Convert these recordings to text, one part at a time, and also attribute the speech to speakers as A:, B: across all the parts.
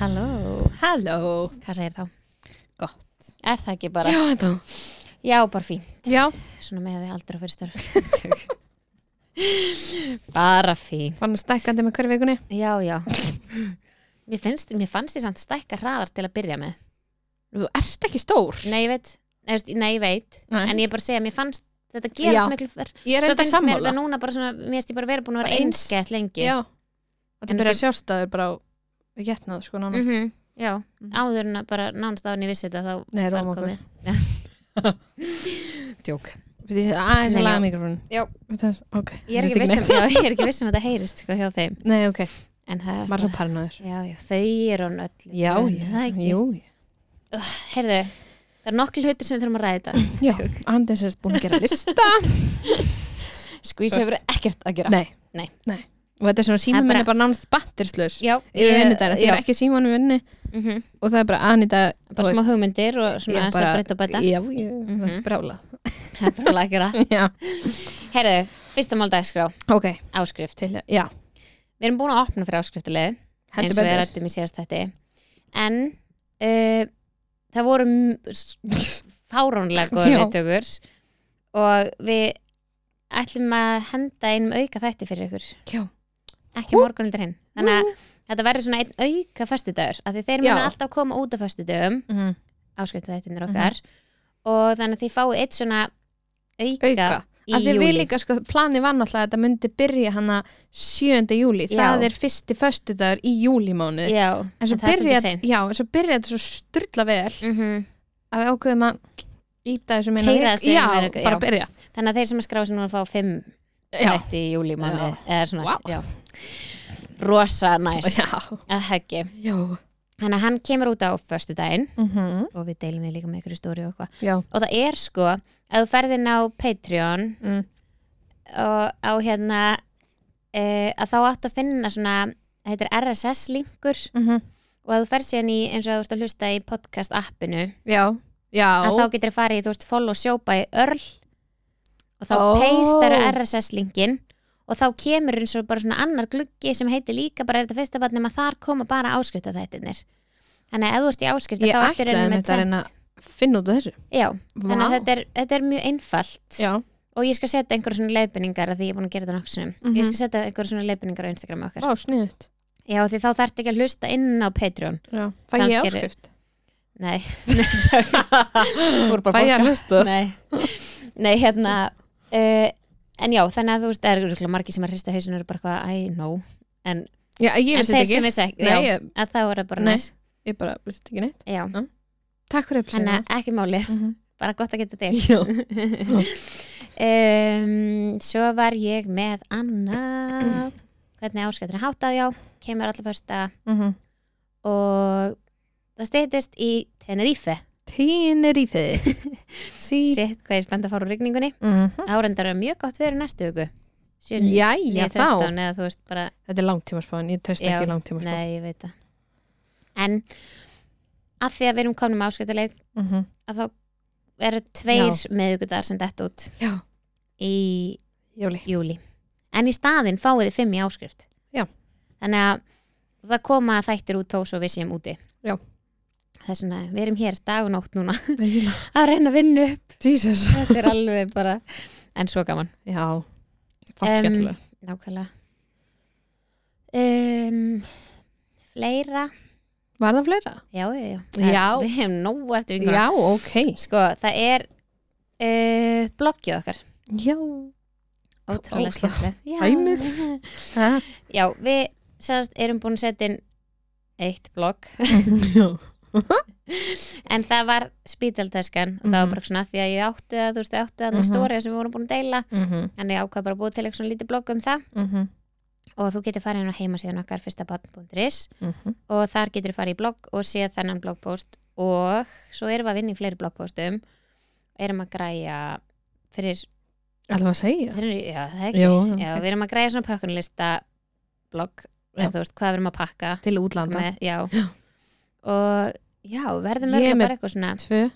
A: Halló,
B: Halló
A: hvað segir þá?
B: Gott
A: Er það ekki bara?
B: Já, þetta
A: Já, bara fín,
B: Já,
A: svona með að við aldrei að fyrir störf Bara fín
B: fann stækkandi með hverju vikunni
A: Já, já Mér, finnst, mér fannst ég samt stækka hraðar til að byrja með
B: Þú ert ekki stór
A: Nei, ég veit, nei, veist, nei, ég veit.
B: Nei.
A: en ég er bara að segja, mér fannst þetta
B: Já.
A: gerast miklu fyrr
B: Ég er
A: Svo
B: enda
A: finnst mér
B: sammála
A: þetta núna bara svona, mér finnst ég bara vera búin að vera
B: Bara eins.
A: einskett lengi
B: Já Þetta
A: En
B: byrja að sjást að þau bara á við getnað sko nána
A: mm Já,
B: Mhm.
A: áður en að bara nánast áður en ég vissi þetta þá
B: Nei,
A: var
B: róma okkur
A: komið. Djók
B: Fyrir þetta aðeins
A: Nei,
B: að
A: já.
B: laga mikrofónu
A: Já.
B: Ok
A: Ég er, ekki
B: Veist
A: viss um,
B: neitt.
A: já, ég er ekki viss um að þetta heyrist sko, hjá þeim
B: Nei, ok
A: en það er
B: Var svo paranoður
A: já, já, þau eru hann öll
B: Já,
A: það
B: já,
A: ekki
B: jú
A: heyrðu, það er nokklu hlutir sem við þurfum að ræða þetta
B: Já, Andins er búin að gera lista Sko,
A: skvís hefur ekkert að gera
B: Nei
A: Nei.
B: Nei Og þetta er svona símum
A: Það er
B: er bara nánast batterslaus
A: já,
B: Yfir vinnu þetta Þetta
A: já,
B: er ekki símanum vinnu
A: mm
B: Og það er bara Anita
A: bara smá hugmyndir og
B: Ég
A: svona þess
B: bara-
A: að breytta og bæta
B: Já, ég mm
A: Mhm.
B: -hmm. brálað
A: það er bara alveg að gera
B: Já,
A: heyrðu, fyrsta máldagskrá,
B: ok
A: áskrift
B: Til, já,
A: við erum búin að opna fyrir áskriftalegu
B: heldur
A: eins og við
B: betur
A: rættum í síðast þetta en uh, það voru m- s- fáránlega góðar
B: Já.
A: viðtökur og við ætlum að henda einum auka þætti fyrir ykkur
B: Já,
A: ekki morgun heldur hinn þannig að þetta verður svona einn auka föstudagur af því þeir munu
B: Já.
A: alltaf koma út af föstudagum
B: mm.
A: áskriftið þættinir
B: Mhm.
A: okkar og þannig að þið fáið eitt svona auka,
B: auka
A: í
B: að þið
A: júli
B: við líka, sko, planið var náttúrulega að þetta myndi byrja hana 7. júli það
A: Já.
B: er fyrsti föstudagur í júlímánu
A: já,
B: en svo
A: en það er
B: byrja,
A: svolítið sein
B: já, en svo byrja þetta svo styrla vel
A: mm
B: að við ákveðum að íta þessu meina
A: Keyra þessu
B: já,
A: meira- já.
B: bara byrja
A: þannig að þeir sem að skrá sig núna fá fimm
B: já,
A: þætti í júlímánu
B: Já.
A: eða svona
B: Vá.
A: já. rosa næs
B: já,
A: að heggi
B: já.
A: þannig að hann kemur út á föstudaginn
B: Mm
A: og við deilum við líka með ykkur stóri og eitthvað
B: já.
A: og það er sko að þú ferðin á Patreon
B: Mm.
A: og á hérna e, að þá áttu að finna svona það heitir RSS linkur
B: Mm
A: og að þú ferð síðan í eins og að þú ert að hlusta í podcast appinu
B: já já,
A: að þá getur þú farið í þú veist follow sjópa í örl og þá
B: Ó.
A: oh. RSS linkin og þá kemur eins og bara svona annar gluggi sem heitir líka bara er þetta fyrsta vatnum að þar koma bara áskrifta þættinir þannig að ef þú ert í áskrifta
B: ég
A: þá ertu í
B: ætlaði
A: rauninni
B: með
A: með
B: þetta að reyna
A: tvennt.
B: að finna út af þessu
A: já, þannig
B: Vá.
A: að þetta er, þetta er mjög einfalt
B: já,
A: og ég skal setja einhverja svona leiðbendingar að því ég er búin að gera þetta nokkuð sem
B: Mhm.
A: ég skal setja einhverja svona leiðbendingar á Instagram okkar
B: Vá, sniðut
A: já því þá þarf ekki að hlusta inn á Patreon
B: Já, fæ
A: Kannski
B: ég
A: eru-
B: áskrift?
A: nei,
B: Fæ ég að hlusta?
A: nei. nei hérna uh, en já þannig að þú veist það eru örugglega margir sem að hrista hausin eru bara eitthvað æ, no en,
B: Já, ég
A: en
B: vissi þetta
A: þeir sem
B: ekki.
A: vissi ekki
B: Nei,
A: já,
B: ég,
A: að þá er það bara
B: Nei.
A: næs
B: ég bara vissi þetta ekki neitt.
A: já,
B: Takk fyrir
A: þannig
B: uppsýna.
A: að ekki máli
B: Mhm.
A: bara gott að geta til um, svo var ég með annað hvernig áskættur er háttað já kemur allar fyrsta
B: mhm.
A: og það steytist í Tenerife
B: Tenerife. Sí. Mhm.
A: sitt hvað ég er spennt að fara úr rigningunni árendar er mjög gott veður í næstu hugu
B: Jæja, þá.
A: eða þú veist bara
B: Þetta er langtímaspáin, ég treyst
A: Já,
B: ekki langtímaspáin.
A: Nei, ég veit það En að því að við erum komin með áskiptileið
B: Mhm.
A: að þá eru tveir meðugudagar sem dett út
B: Já,
A: í
B: jóli.
A: júli En í staðinn fáið þið fimm í áskrift
B: Já.
A: Þannig að það koma þættir út þó svo við séum úti
B: Já.
A: Þess vegna, við erum hér dag og nótt núna
B: Eiginlega.
A: að reyna að vinna upp
B: Jesus.
A: Þetta er alveg bara En svo gaman
B: Já, fátt
A: Em,
B: skemmtilega.
A: Nákvæmlega um, Fleira
B: Var það fleira?
A: Já, já, já.
B: Já.
A: Við hefum nógu eftir vikuna.
B: Já, ok.
A: Sko, það er uh, bloggið okkar.
B: Já.
A: Ótrúlega
B: Ótrúlega.
A: skemmtilegt. Já.
B: Dæmið. Ha?
A: Já, við sérst erum búin að setja inn eitt blogg.
B: Já.
A: En það var spítaltöskan og það var
B: Mhm.
A: bara svona því að ég átti það, þú veist, ég átti það
B: Mhm.
A: mm stórið sem við vorum búin að deila.
B: Mhm,
A: En ég ákvað bara að búa til eitthvað svona lítið blogg um það.
B: mhm,
A: Og þú getur farið inn á heimasíðan okkar fyrstabatn.is
B: mhm.
A: og þar getur þú farið í blogg og séð þennan bloggpost og svo erum við að vinna í fleiri bloggpostum erum að græja fyrir,
B: Ætlum við að segja?
A: fyrir já, það er ekki
B: Jó,
A: já,
B: ok.
A: við erum að græja svona pökkunlista blogg,
B: Já.
A: eða þú veist hvað við erum að pakka
B: Til útlanda.
A: með, já. og já, verðum
B: Ég er
A: örgulega
B: með-
A: bara eitthvað svona
B: Tvö.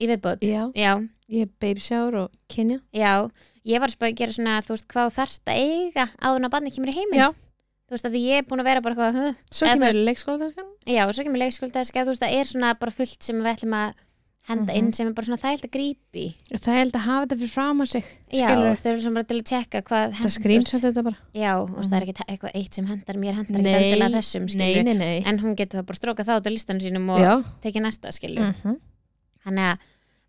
A: í viðbót
B: Já.
A: já,
B: Ég er baby shower og kynja.
A: já, ég var að spá að gera svona þú veist hvað þú þarft að eiga áður en að barni kemur í heiminn
B: Já.
A: þú þú veist að því ég er búin að vera bara eitthvað "Huh?"
B: Svo
A: Eða þú
B: kemur leikskólataskan
A: já, og svo kemur leikskóldaska þú veist það er svona bara fullt sem við ætlum að henda
B: Mhm.
A: inn sem er bara svona þægilt að grípi
B: Það er held að hafa þetta fyrir fram að sig
A: já,
B: Skilurðu?
A: þau eru svona bara til að tjekka hvað
B: Það
A: þú veist,
B: skrýnsat þetta bara
A: já, og það er ekki eitthvað eitt sem hendar mér hendar ekki
B: Mhm. Nei,
A: endilega þessum skilur
B: nei, nei
A: en hún getur þá bara strókað þá út af listanum sínum og
B: Já
A: tekið næsta skilur
B: Mhm.
A: þannig að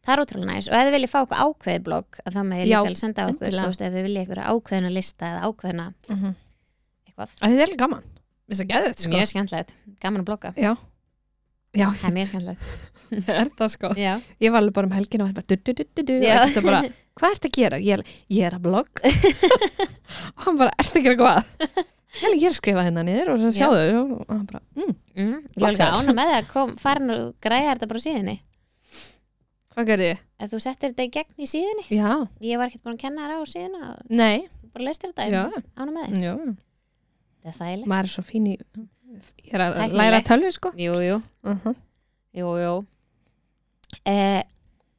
A: það er ótrúlega næs og ef þið viljið fá okkur ákveðið blogg að þá með ég
B: Já,
A: líka alveg senda á okkur
B: endilega.
A: þú veist ef þið viljið ykkur ákveðina lista eða ákveðina
B: Mhm.
A: eitthvað
B: Að Þetta er alveg gaman Mér finnst það geðvett sko
A: mjög skemmtilegt, gaman að blogga
B: Já Já,
A: það er mjög skemmtilegt
B: er það sko
A: já,
B: Ég var alveg bara um helgin og var bara du, du, du, du, du, og
A: Já.
B: ekkert bara, Hvað ertu að gera? Ég er, ég er að blogg Og hann bara, ertu að gera hvað? Ég er, ég er að skrifa hérna niður og svo
A: Já.
B: sjáðu Og hann bara, mm,
A: mm, ég
B: Flott
A: vil
B: hjá þér.
A: ána með það kom, farin og græða þetta bara á síðinni
B: hvað gerði ég?
A: ef þú settir þetta í gegn í síðinni
B: Já,
A: ég var ekkert búin að kenna þér á síðina og
B: nei,
A: þú bara leistir
B: Já.
A: þetta ána með þig,
B: já
A: það er þægilegt
B: Maður er svo fín í Ég er að
A: Tæknilegt.
B: læra tölvi sko
A: jú, jú,
B: uh -huh.
A: jú, jú. Eh,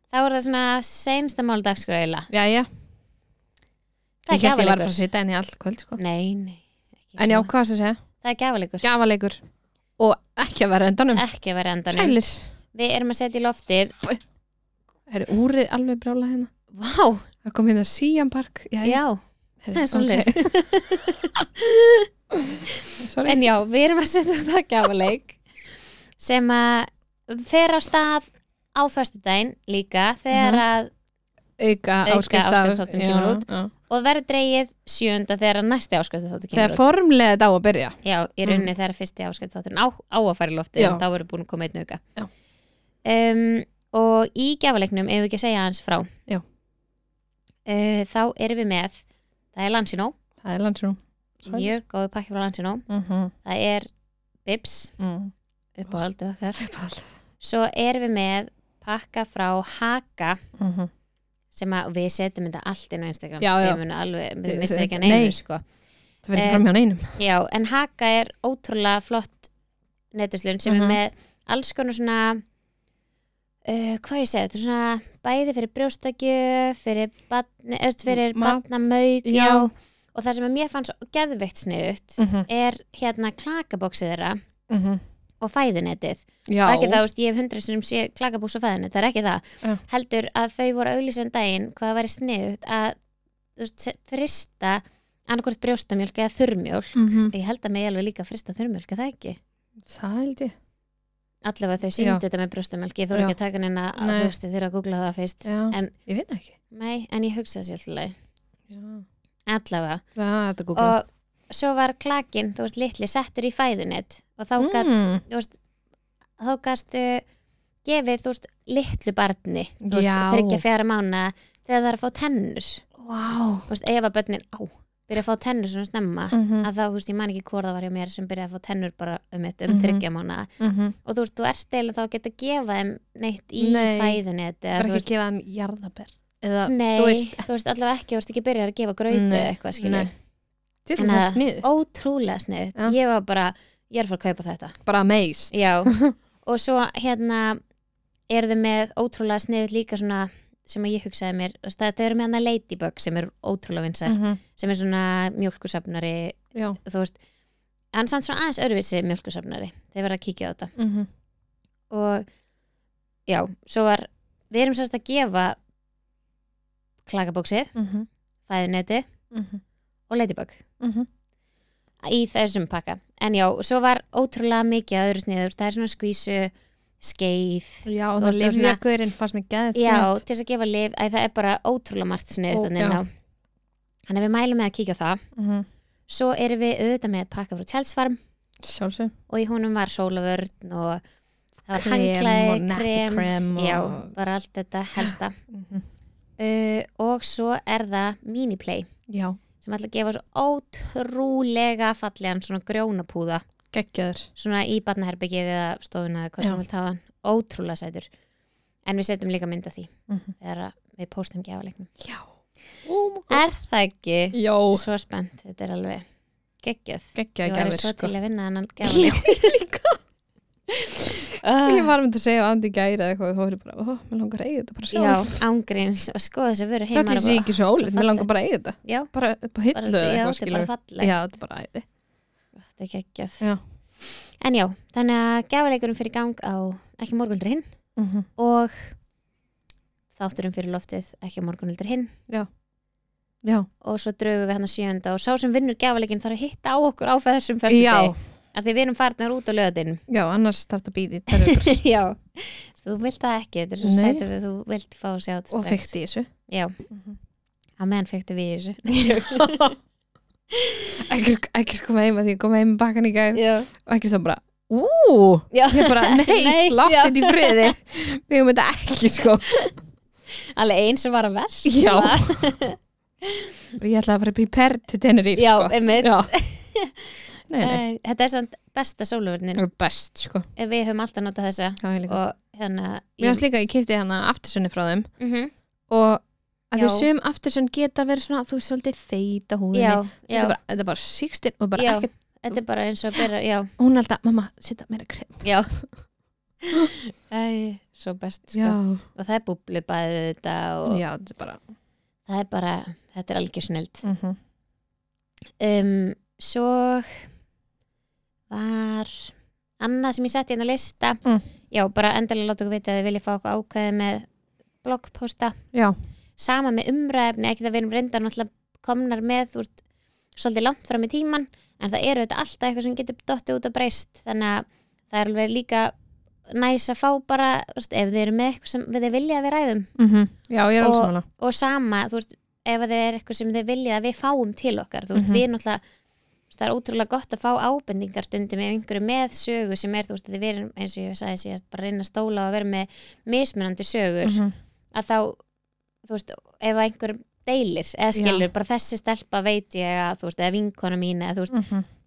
A: þá er það svona seinsta máldagsgræðila
B: Já, já,
A: það er
B: ég held ég var að fara
A: gafalegur
B: að sitja henni allt kvöld sko
A: nei, nei, ekki
B: En já,
A: svona.
B: hvað það segja?
A: Mm, það er gafalegur
B: Gjafalegur Og ekki að vera endanum
A: ekki að vera á endanum
B: Sælir
A: við erum að setja í loftið
B: Er úrið alveg brála hérna?
A: Vá,
B: Það kom hérna Sian Park Já,
A: já,
B: Heyrðu,
A: það er svona
B: ok, sorry.
A: en já, við erum að setja á stað gafaleik sem að fer á stað á föstudaginn líka
B: Mhm.
A: þegar að,
B: auka
A: Auka
B: áskrift af-
A: áskriftarþáttum
B: Já,
A: kemur út.
B: já.
A: og verður dreigið sjönda þegar að næsti áskvæmstu þáttu
B: Það
A: kemur
B: er
A: út
B: formlega þetta á að byrja
A: já, í rauninni mm. þegar fyrsti áskvæmstu þátturinn á, á að fara í loftið
B: Já.
A: en þá verður búin að koma einn auka
B: Já.
A: um, og í gafaleiknum ef við ekki að segja hans frá
B: Já.
A: Eh, þá erum við með það er Lansinó,
B: Það er landsrúm Sorry. Mhm.
A: mjög góðu pakki frá Lansinó það er Bibs upp á aldu okkar svo erum við með pakka frá Haka
B: Mhm.
A: sem að við setjum þetta allt inn á Instagram
B: Já, já.
A: við munum alveg,
B: Þið-
A: við missum
B: þið-
A: ekki
B: nei.
A: neinu sko.
B: Það verður
A: Eh,
B: fram hjá neinum
A: já, en Haka er ótrúlega flott netuslun sem
B: Mhm.
A: er með alls konar svona uh, hvað ég segi, þetta er svona bæði fyrir brjóstakju fyrir, barni, eðst, fyrir
B: Mat.
A: barnamauk
B: Já. Mhm.
A: já. og það sem að mér fannst svo geðveikt sniðut
B: Mm.
A: er hérna klakabóksið þeirra og fæðunetið
B: Já,
A: Og ekki Mhm. það, þú veist, ég hef hundra sem sé klakabús á fæðinu, það er ekki það
B: Já.
A: heldur að þau voru auðlýsum daginn hvað það væri sniðut að þú veist, se- frista annarkvort brjóstamjólk eða þurrmjólk
B: Mhm.
A: ég held að mig alveg líka frista þurrmjólk, er það ekki
B: það held ég
A: allavega þau
B: Já.
A: síndu þetta með brjóstamjólk ég þóra
B: Já.
A: ekki að taka neina að
B: Nei.
A: þú veist þeirra að googla það fyrst
B: Já,
A: En-
B: ég veit ekki
A: Nei, en ég hugsa þessi alltaf
B: Já,
A: allavega
B: það er þetta gúkla
A: og svo var klakin, þú veist, litli settur í fæðunett og þá gatt
B: Mm.
A: þú veist, þá gast uh, gefið, þú veist, litlu barni þú veist,
B: Já.
A: þryggja fjara mánu þegar það er að fá tennur þú
B: Vá
A: veist, ef að börnin, á, byrja að fá tennur svona snemma,
B: Mm.
A: að þá, þú veist, ég man ekki hvort það var hjá mér sem byrjaði að fá tennur bara um eitt um
B: Mhm.
A: þryggja mánu og þú veist, þú ert eða þá að geta að gefa þeim neitt í
B: Nei.
A: fæðunett eða,
B: Það er
A: þú
B: ekki
A: veist,
B: að gefa þeim jarðaber Eða,
A: nei,
B: þú veist-
A: allavega ekki, þú veist ekki byrjað að gefa grauti
B: Nei,
A: eða eitthvað, skilur
B: nei. til
A: En
B: þess að
A: að-
B: snið
A: ótrúlega sniðut,
B: Já.
A: ég var bara ég er að fara að kaupa þetta
B: Bara meist
A: Já, og svo hérna eru þau með ótrúlega sniðut líka svona sem að ég hugsaði mér þú veist, það þau eru með hana Ladybug sem er ótrúlega
B: Mhm.
A: vinsæst sem er svona mjölkusafnari
B: Já
A: þú veist, en samt svona aðeins öruvísi mjölkusafnari, þeir verða að kíkja á þetta og já, svo var við erum sérst að gefa klakabóksið, fæðunetti mhm, og Ladybug í þessum pakka, en já, svo var ótrúlega mikið að öðru sniðu, það er svona skvísu skeið
B: Já, og
A: Þú veist,
B: það
A: það er
B: lifið
A: svona-
B: að gaurinn fannst mér geðið
A: Já, til þess að gefa lif, að það er bara ótrúlega margt
B: Ó,
A: sniðut
B: já.
A: þannig á. Þannig að við mælum með að kíkja á það.
B: Mhm.
A: Svo erum við auðvitað með pakka frá Chelsea Farm
B: Sjálfsög
A: og í honum var sólavörn og það var hangklæði, krem,
B: krem og...
A: já, bara allt þetta helsta.
B: Mhm.
A: Uh, og svo er það miniplay
B: Já,
A: sem ætla að gefa svo ótrúlega fallegan svona grjónapúða
B: geggjaður
A: svona í barnaherbyggið eða stofuna eða hvað sem
B: Já.
A: þú vilt hafa hann. ótrúlega sætur en við setjum líka mynd af því
B: Mhm.
A: þegar að við postum gefaleiknum
B: Já Ó,
A: Er það ekki?
B: Oh Já,
A: svo spennt, þetta er alveg geggjað
B: geggjaður
A: ég væri
B: geðið
A: svo
B: sko
A: til að vinna annan
B: Ég
A: gæðan
B: líka
A: Ah,
B: Ég var með að segja á Andi gæri eða eitthvað og þú verður bara, ó, mér langar að eiga þetta bara
A: já,
B: sjálf
A: ángríns og skoða þess að vera heima
B: Þetta er sér ekki svo
A: svo
B: ólega, mér langar
A: fallegt.
B: bara að eiga þetta
A: já,
B: Bara upp á
A: bara,
B: hillu
A: já
B: eða eitthvað
A: þetta er bara
B: skilur
A: fallegt
B: Já, þetta er bara æði
A: þetta er geggjað
B: Já.
A: en já, þannig að gefaleikurinn fyrir gang á ekki morgunildur hinn
B: Mm
A: Mhm.
B: -hmm.
A: og þátturinn fyrir loftið ekki morgunildur hinn
B: Já,
A: og svo draugum við hann að sjönda og sá sem vinnur gefaleikinn þarf að hitta á okkur á þessum
B: já,
A: fyrstu af því við erum farnar út á löðin
B: já, annars starta býði í tvær vikur
A: já, þú vilt það ekki þetta er svo
B: Nei.
A: sætið við þú vilt fá að sjá þetta
B: og fyrst í þessu.
A: já,
B: Mhm.
A: að meðan fyrstu við í þessu
B: Ekki, ekki sko heim að því ég kom heim bakan í gæð
A: já,
B: og ekki svo bara, úúú,
A: já.
B: ég bara, nei,
A: Nei,
B: látt
A: já.
B: þetta í friði. Við höfum þetta ekki sko.
A: alveg eins sem var að verst
B: Já. Ég ætlaði að fara prepared to Tenerife
A: já,
B: sko.
A: einmitt
B: Já. Nei, nei,
A: Æ, þetta er samt besta sóluverðnin
B: það er best sko.
A: við höfum alltaf notað þessa
B: Já, ég líka.
A: og hérna
B: Mér finnst líka að ég kipti hana aftursunni frá þeim
A: Mhm.
B: og
A: Já.
B: að því sum aftursunn geta verið svona, þú er svolítið feita húðinni.
A: já, já,
B: Þetta er bara, þetta er bara 16 og bara
A: Já.
B: ekkert,
A: þetta er bara eins og að byrja já,
B: hún er alltaf, mamma, setja meira krem.
A: já Æ, svo best sko. og það er búblubæðið þetta og
B: já, þetta er bara.
A: það er bara, þetta er algjör snild
B: Mm
A: um, svo var annað sem ég setti hérna á lista
B: Mm.
A: já, bara endalega láta okkur vita að þið viljið fá okkur ákveði með blogposta
B: Já,
A: sama með umræðefni, ekki það við erum reyndar náttúrulega komnar með úr svolítið langt fram í tíman, en það eru þetta alltaf eitthvað sem getur dottið út að breyst þannig að það er alveg líka næs að fá bara, þú veist, ef þið eru með eitthvað sem þið vilja að við ræðum
B: mm já, ég er
A: Mhm. Og-
B: alveg samanlega.
A: og sama, þú veist, ef það er eitthvað sem þið vilja að við fáum til okkar, þú veist,
B: Mhm.
A: við náttúrulega þú veist, það er ótrúlega gott að fá ábendingar stundum ef einhverju með sögu sem er, þú veist, að við erum, eins og ég sagði síðast, bara að reyna að stóla og að vera með mismunandi sögur
B: -hmm.
A: að þá, þú veist, ef einhver deilir eða skilur, bara þessi stelpa veit ég að, þú veist, eða vinkona mín eða, þú veist,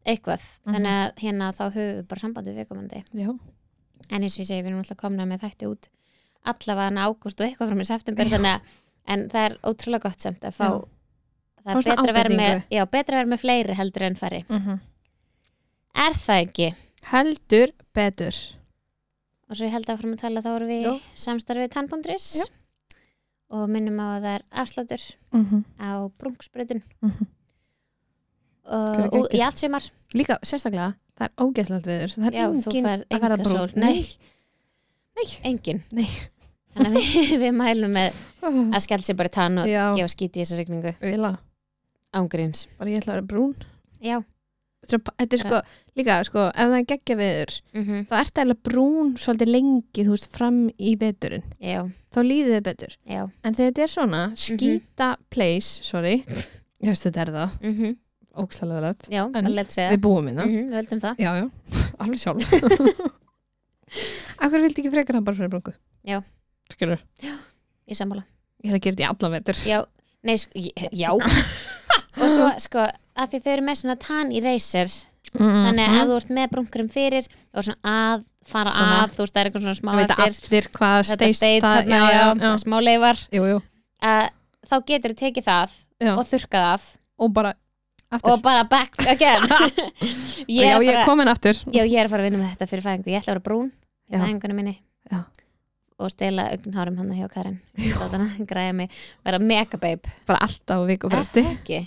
A: eitthvað,
B: Mhm.
A: þannig að hérna þá höfum við bara sambandi við viðkomandi
B: Já,
A: en eins og ég segi, við erum alltaf komna með þætti út allavega hann ágúst og eitthvað frá mér september þannig að, en það er ótrúlega gott samt að fá,
B: Já.
A: það
B: Fá
A: er
B: svona
A: betra að vera með
B: ábendingu.
A: já, betra að vera með fleiri heldur en færri er það ekki?
B: heldur betur
A: og svo ég held áfram að tala þá erum við
B: Jú.
A: í samstarfið tannbundris
B: Já.
A: og minnum á að það er afsláttur á brungsbröðun
B: Mhm. Gjörðu
A: og, og
B: geggjað.
A: í allt sumar
B: Líka sérstaklega, það er ógeðslegt viður Það er
A: Já, þú
B: engin
A: færð
B: að verða
A: enga
B: brún
A: sól. Nei.
B: Nei.
A: engin
B: Nei.
A: þannig að við, við mælum með
B: Nei.
A: að skella sér bara í tann og
B: Já,
A: gefa skíti í þessa regningu
B: vila,
A: ángríns
B: bara ég ætla að vera brún
A: já,
B: Þetta er- Þetta er sko, líka sko, ef það er geggja viður
A: mhm,
B: þá ert það brún svolítið lengi þú veist, fram í veturinn
A: já,
B: þá líður þið betur,
A: já
B: en þegar þetta er svona skýta place, sorry ég veist þetta er það,
A: mhm,
B: ógstælega lett
A: já, bara lett segja
B: við búum í það
A: mhm, við höldum það
B: Já, já, alveg sjálf Akkur vildi ekki frekar það bara fyrir brungu?
A: Já.
B: Skilur,
A: í sammála
B: ég hefði gert í allan vetur
A: já, nei, sko, ég- já og svo, sko, að því þau eru með svona tann í reyser
B: Mhm.
A: þannig að ef þú ert með brunkurum fyrir og svona að fara
B: Svona.
A: að þú veist, það er eitthvað svona smá
B: Það veit
A: eftir
B: allir hvað
A: þetta
B: steist
A: steit,
B: það
A: þarna, já,
B: já.
A: smá leifar
B: Jú, jú,
A: uh, þá getur þú tekið það
B: já.
A: og
B: Og,
A: þurkað af
B: bara aftur
A: og bara back again ég
B: Já,
A: er
B: ég
A: bara,
B: er komin aftur
A: já, ég er að fara að vinna með þetta fyrir fæðingu ég ætla að vera brún í
B: Já.
A: fæðingunum minni
B: Já.
A: og stela augnhárum hann hjá Karin þannig að græja mig vera megababe
B: Bara alltaf á viku fyrsti
A: ekki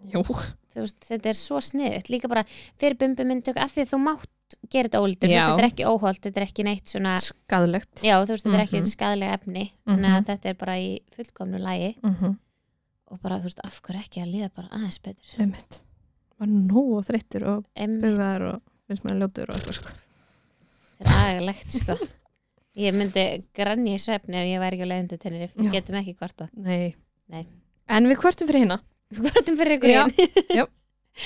A: Ah.
B: Jú,
A: þú veist, þetta er svo sniðut líka bara fyrir bumbumyndök af því að þú mátt gera þetta ólítur, þú
B: Já.
A: veist, þetta er ekki óholt þetta er ekki neitt svona,
B: skadlegt
A: já þú veist, þetta er ekki
B: Mhm.
A: skadalega efni, þannig
B: Mhm.
A: að þetta er bara í fullkomnu lægi
B: mm -hmm.
A: og bara, þú veist, af hverju ekki að líða bara aðeins betur
B: Einmitt Var nógu þreyttur og
A: Einmitt.
B: bugaður og finnst mér ljótur og eitthvað sko
A: Þetta er agalegt sko Ég myndi grænja í svefni ef ég væri ekki á leiðin til Tenerife,
B: Já.
A: við getum ekki kvarta
B: Nei,
A: Nei.
B: En við hvertum fyrir hérna
A: Kvartum fyrir ykkur hérna.
B: Já,
A: einn,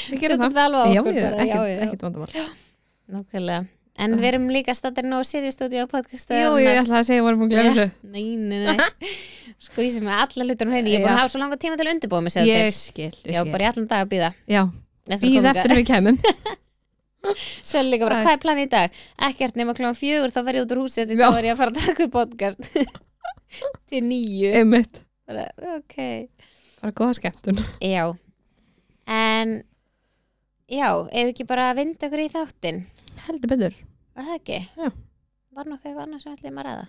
B: Við gerum
A: tökum
B: það
A: það alveg á
B: Já,
A: okkur
B: já,
A: bara,
B: ekkert, ekkert vandamál
A: Nákvæmlega, en við erum líka stattir nú á Sirius Studio podcast
B: Jú, ég ætlaði að segja að vorum búin að glemja þessu.
A: Nei, nei, nei Sko ég sem er alla hlutur um henni, ég er búin
B: Já.
A: að hafa svo langa tíma til að undirbúa mig sér
B: Ég skil,
A: til
B: ég
A: Já,
B: skil.
A: bara í allan dag að býða
B: Já, býð eftir að við kemum.
A: Sér líka bara,
B: Æ.
A: hvað er planið í dag? Ekkert nema kljóðan fjögur, þá verð ég út úr húsi Þá
B: Já.
A: verð ég að fara að taka upp podcast Til nýju
B: Einmitt.
A: Bara, Ok
B: Bara góða skemmtun.
A: Já En Já, ef ekki bara að vinda okkur í þáttinn
B: Heldur betur.
A: Var það ekki?
B: Já.
A: Var nokkuð eitthvað annars sem ætlum að ræða?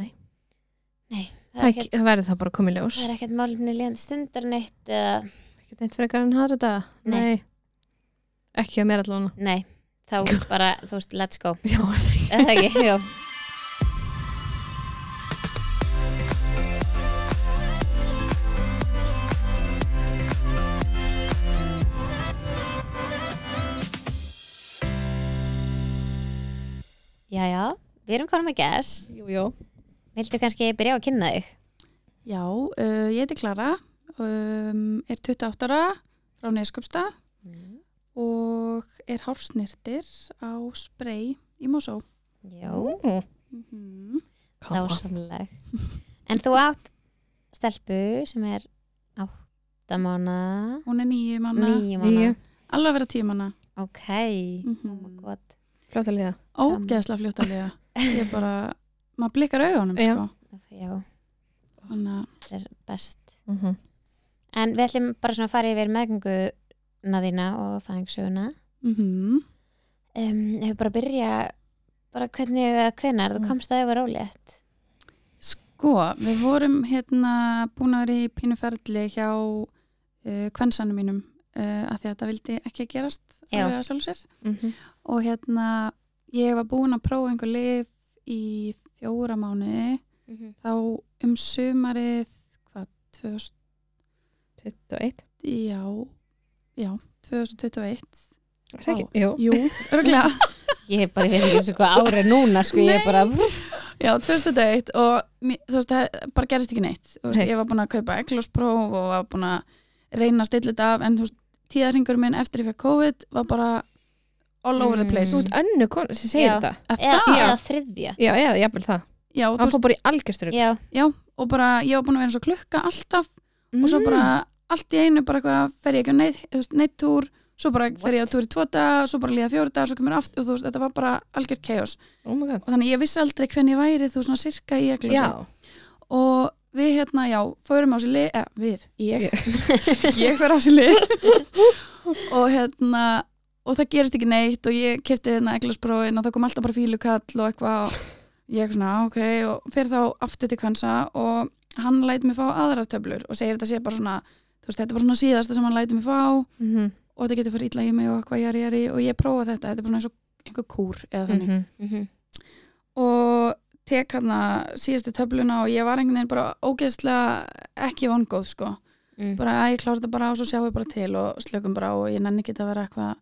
B: Nei.
A: Það
B: Það,
A: er
B: ekki,
A: ekkert-
B: það verður það bara að koma í ljós.
A: það er ekkert málumni líðandi stundar neitt eða
B: Ekkert neitt frekar en aðra daga.
A: Nei.
B: Ekki að mér allavega.
A: Nei, þá bara, þú veist, let's go
B: Já, er það
A: Er
B: ekki.
A: Það ekki, já Jæja, við erum konum að gess
B: Jú, jú.
A: Viltu kannski byrja á að kynna þig?
C: Já, uh, ég heiti Klara, um, er 28 ára frá Neskjöpsta og er hársnirtir á sprey í Mosó.
A: Já,
B: Mm.
C: Mm
A: dásamleg En þú átt stelpu sem er áttamána
C: Hún er nýju manna,
A: Nýjumána
B: Níu.
C: alveg að vera tíu manna.
A: Ok,
C: Mm
A: oh my
C: -hmm.
A: god
B: Fljóta liða.
C: Ógeðslega fljóttalega. Ég er bara, maður blikkar augunum
B: Já.
C: sko.
A: Já,
C: Þannig að,
A: það er best
B: Mm
A: En við ætlum bara svona að fara yfir meðgönguna þína og fæðingsöguna
C: mm
A: um, Hefur bara að byrja bara hvernig eða hvenar þú
B: Mm.
A: komst að yfir ólétt
C: sko, við vorum hérna búin að vera í pínuferli hjá uh, kvensanum mínum uh, að því að þetta vildi ekki gerast
A: Já.
C: alveg að sjálf sér.
A: mm -hmm.
C: og hérna ég var búin að prófa einhver lif í fjóra mánuði
A: Mhm.
C: þá um sumarið hvað, 2000,
B: 21.
C: já já, 2021
B: Er það ekki?
C: Vá.
B: Jú.
C: jú, örgulega
A: Ég er bara, ég veit ekki svo hvað ári núna sko, ég er bara
C: já, 2021 og mér- þú veist, það bara gerist ekki neitt Þú veist,
B: Nei.
C: ég var búin að kaupa eglospróf og var búin að reyna að stilla þetta af en þú veist, tíðarhingur minn eftir ég fekk COVID var bara all over the
A: Mm.
C: place
B: Þú ert önnu konu sem segir
A: Já.
B: þetta.
C: að
A: eða,
C: það,
A: eða þriðja
B: Já, eða jafnvel það.
C: já, þú
B: Hann
C: veist,
B: fór bara í algjörstur.
A: Já,
C: og bara ég var búin að vera eins og klukka alltaf
B: Mhm.
C: og svo bara allt í einu bara eitthvað fer ég ekki á neitt, þú veist, neittúr svo bara fer ég á túr í tvo daga, svo bara líða fjóri daga svo kemur aftur og þú veist, þetta var bara algjört chaos
B: Oh my god.
C: og þannig ég vissi aldrei hvernig ég væri þú veist, svona sirka í sko. eglur
B: Já.
C: og við hérna, já, fórum á sér lið eh, við, ég ég fer á sér lið og hérna og það gerist ekki neitt og ég kefti hérna eglaspróin og það kom alltaf bara fílukall og eitthvað og ég eitthvað svona, ok, og fer þá aftur til kvensa og hann læt mig fá aðrar töflur og segir þetta sé bara svona þú veist, þetta er bara svona síðasta sem hann læti mig fá og
B: Mhm.
C: þetta getur farið illa í mig og eitthvað jari, jari og ég prófa þetta, þetta er bara svona eins og einhver kúr eða þannig
B: Mhm.
A: Mhm.
C: og tek hann síðustu töfluna og ég var einhvern veginn bara ógeðslega ekki vongóð sko
A: Mm.
C: bara að ég klára þetta bara og svo sjáum við bara til og slökum bara á og ég nenni ekki að vera eitthvað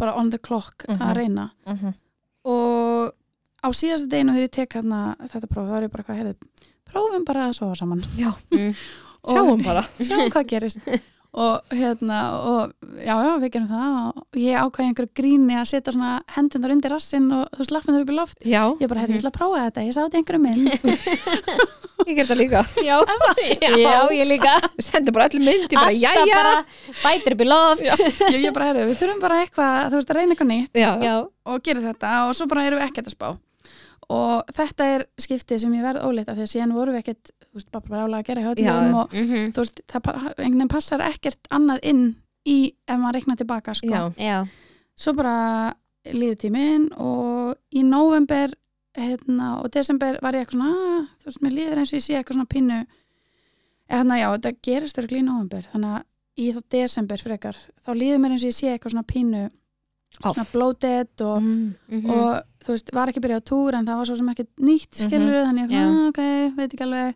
C: bara on the clock
B: Mhm.
C: að reyna
B: Mhm.
C: og á síðasta deginu þegar ég tek hann þetta próf þá er ég bara eitthvað heyrðu prófum bara að sofa saman
B: Já.
A: Mm.
C: Og-
B: Sjáum bara.
C: sjáum hvað gerist og hérna og já, já, við gerum það og ég ákvæði einhverju gríni að setja svona hendunar undir rassinn og þú slappin þar upp í loft
B: Já.
C: ég bara, herri,
B: Mhm.
C: ég ætla að prófa þetta, ég sá þetta í einhverju mynd
B: Ég ger það líka.
A: Já, já, ég líka
B: Við sendum bara allir myndi bara,
A: Alltaf
B: jæja.
A: bara bætir upp í loft Já,
C: ég, ég bara, herri, við þurfum bara eitthvað, þú veist, að reyna eitthvað nýtt
B: Já.
C: og gerir þetta og svo bara erum við ekkert að spá og þetta er skiptið sem ég verð óleita því að síðan vorum við ekkert þú veist, bara bara álega að gera
B: Já,
C: hjáttlegum og
A: Mhm.
C: þú veist, það pa- einhvern veginn passar ekkert annað inn í ef maður reikna tilbaka sko.
B: Já.
A: já,
C: svo bara líður tíminn og í november hérna, og desember var ég eitthvað svona "Ah, þú veist, mér líður eins og ég sé eitthvað svona pínu eða þannig að já, þetta gerist örgli í november, þannig að í þá desember frekar, þá líður mér eins og ég sé eitthvað svona pínu, svona
B: Off.
C: bloated og
B: Mm.
A: mhm.
C: og þú veist, var ekki byrjað á túr en það var svo sem ekkert nýtt skilur
A: Já.
C: þannig ég, ah, ok, veit ekki alveg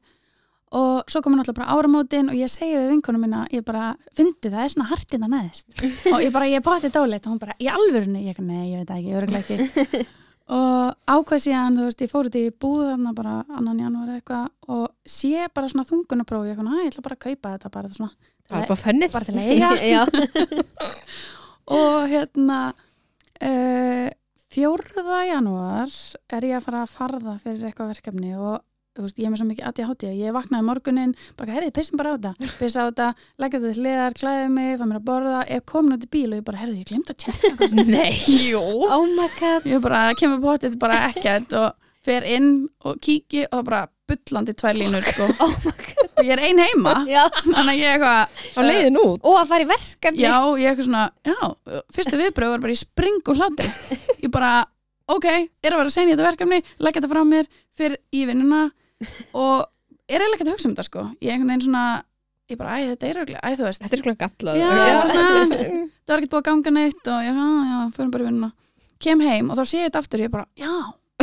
C: og svo komum náttúrulega bara áramótin og ég segi við vinkonum mína, ég bara fyndu það er svona hartina neðist og ég bara, ég bátti dálegt og hún bara, í alvörunni ég, nei, ég veit það ekki, örgulega ekki og ákveð síðan, þú veist, ég fór út í búð þarna bara annan janúar eða eitthvað og sé bara svona þungunapróf ég, eitthvað, "Ah, ég ætla bara að kaupa þetta bara, svona,
B: Það er bara fönnið.
C: bara til að eiga
A: já.
C: og hérna uh, fjórða janúar er ég að fara að farða fyrir eitthvað verkefni og þú veist, ég er með svo mikið aðja hátíða, ég vaknaði morgunin bara, herrið, pissum bara á þetta, pissa á þetta leggja þetta til hliðar, klæði mig, fæ mér að borða ég kom nátt í bíl og ég bara, herrið, ég glemt að tjekka eitthvað."
B: Nei.
C: Jú,
A: Oh my god
C: ég bara, það kemur potið bara ekkert og fer inn og kíki og það bara bullandi tvær línur sko.
A: Oh my god
C: og ég er ein heima
A: já.
C: þannig að ég er eitthvað
B: Á leiðin út.
A: Og að fara í verkefni
C: Já, ég eitthvað svona, já, fyrstu viðbröð var bara í spring og hlátur. Ég bara, ok, er að vera að segja þetta verkefni, leggja þetta frá mér fyrir í vinnuna og er eiginlega ekki að hugsa um þetta sko. Ég einhvern veginn svona ég bara, æ, þetta er örglega, æ, þú veist
B: Þetta er eitthvað gallað
C: Já, bara svona-
B: þetta er svona-
C: það var ekkert búið að ganga neitt og ég, já, já, förum bara í vinnuna kem heim og þá sé ég þetta aftur, ég bara, já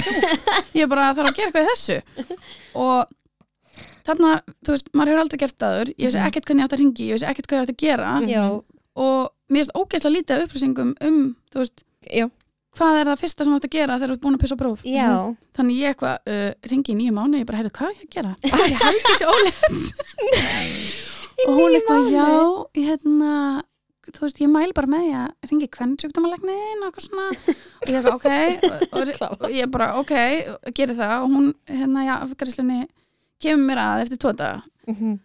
C: jú, ég bara þarf að gera eitthvað í þessu og þarna, þú veist, maður hefur aldrei gert það aður ég vissi
B: Mhm.
C: ekkert hvernig ég átt að ringi, ég vissi ekkert hvað ég átt að gera
B: Mhm.
A: já,
C: og mér finnst ógeðslega lítið af upplýsingum um, þú veist,
B: Já.
C: hvað er það fyrsta sem átt að gera þegar þú ert búin að pissa á próf
A: já
C: þannig ég eitthvað, uh, ringi í nýju mánu ég bara, heyrðu, hvað er ég að gera? Æ, ég held þessi ólega og hún eitthvað, já, ég hérna þú veist, ég mæli bara með því að ringi hvern sjúkdómalegnin og eitthvað svona og ég eitthvað, ok og, og,
B: Klára.
C: og ég bara, ok, gerir það og hún, hérna, já, afgræslunni kemur mér að eftir tóta
B: Mhm.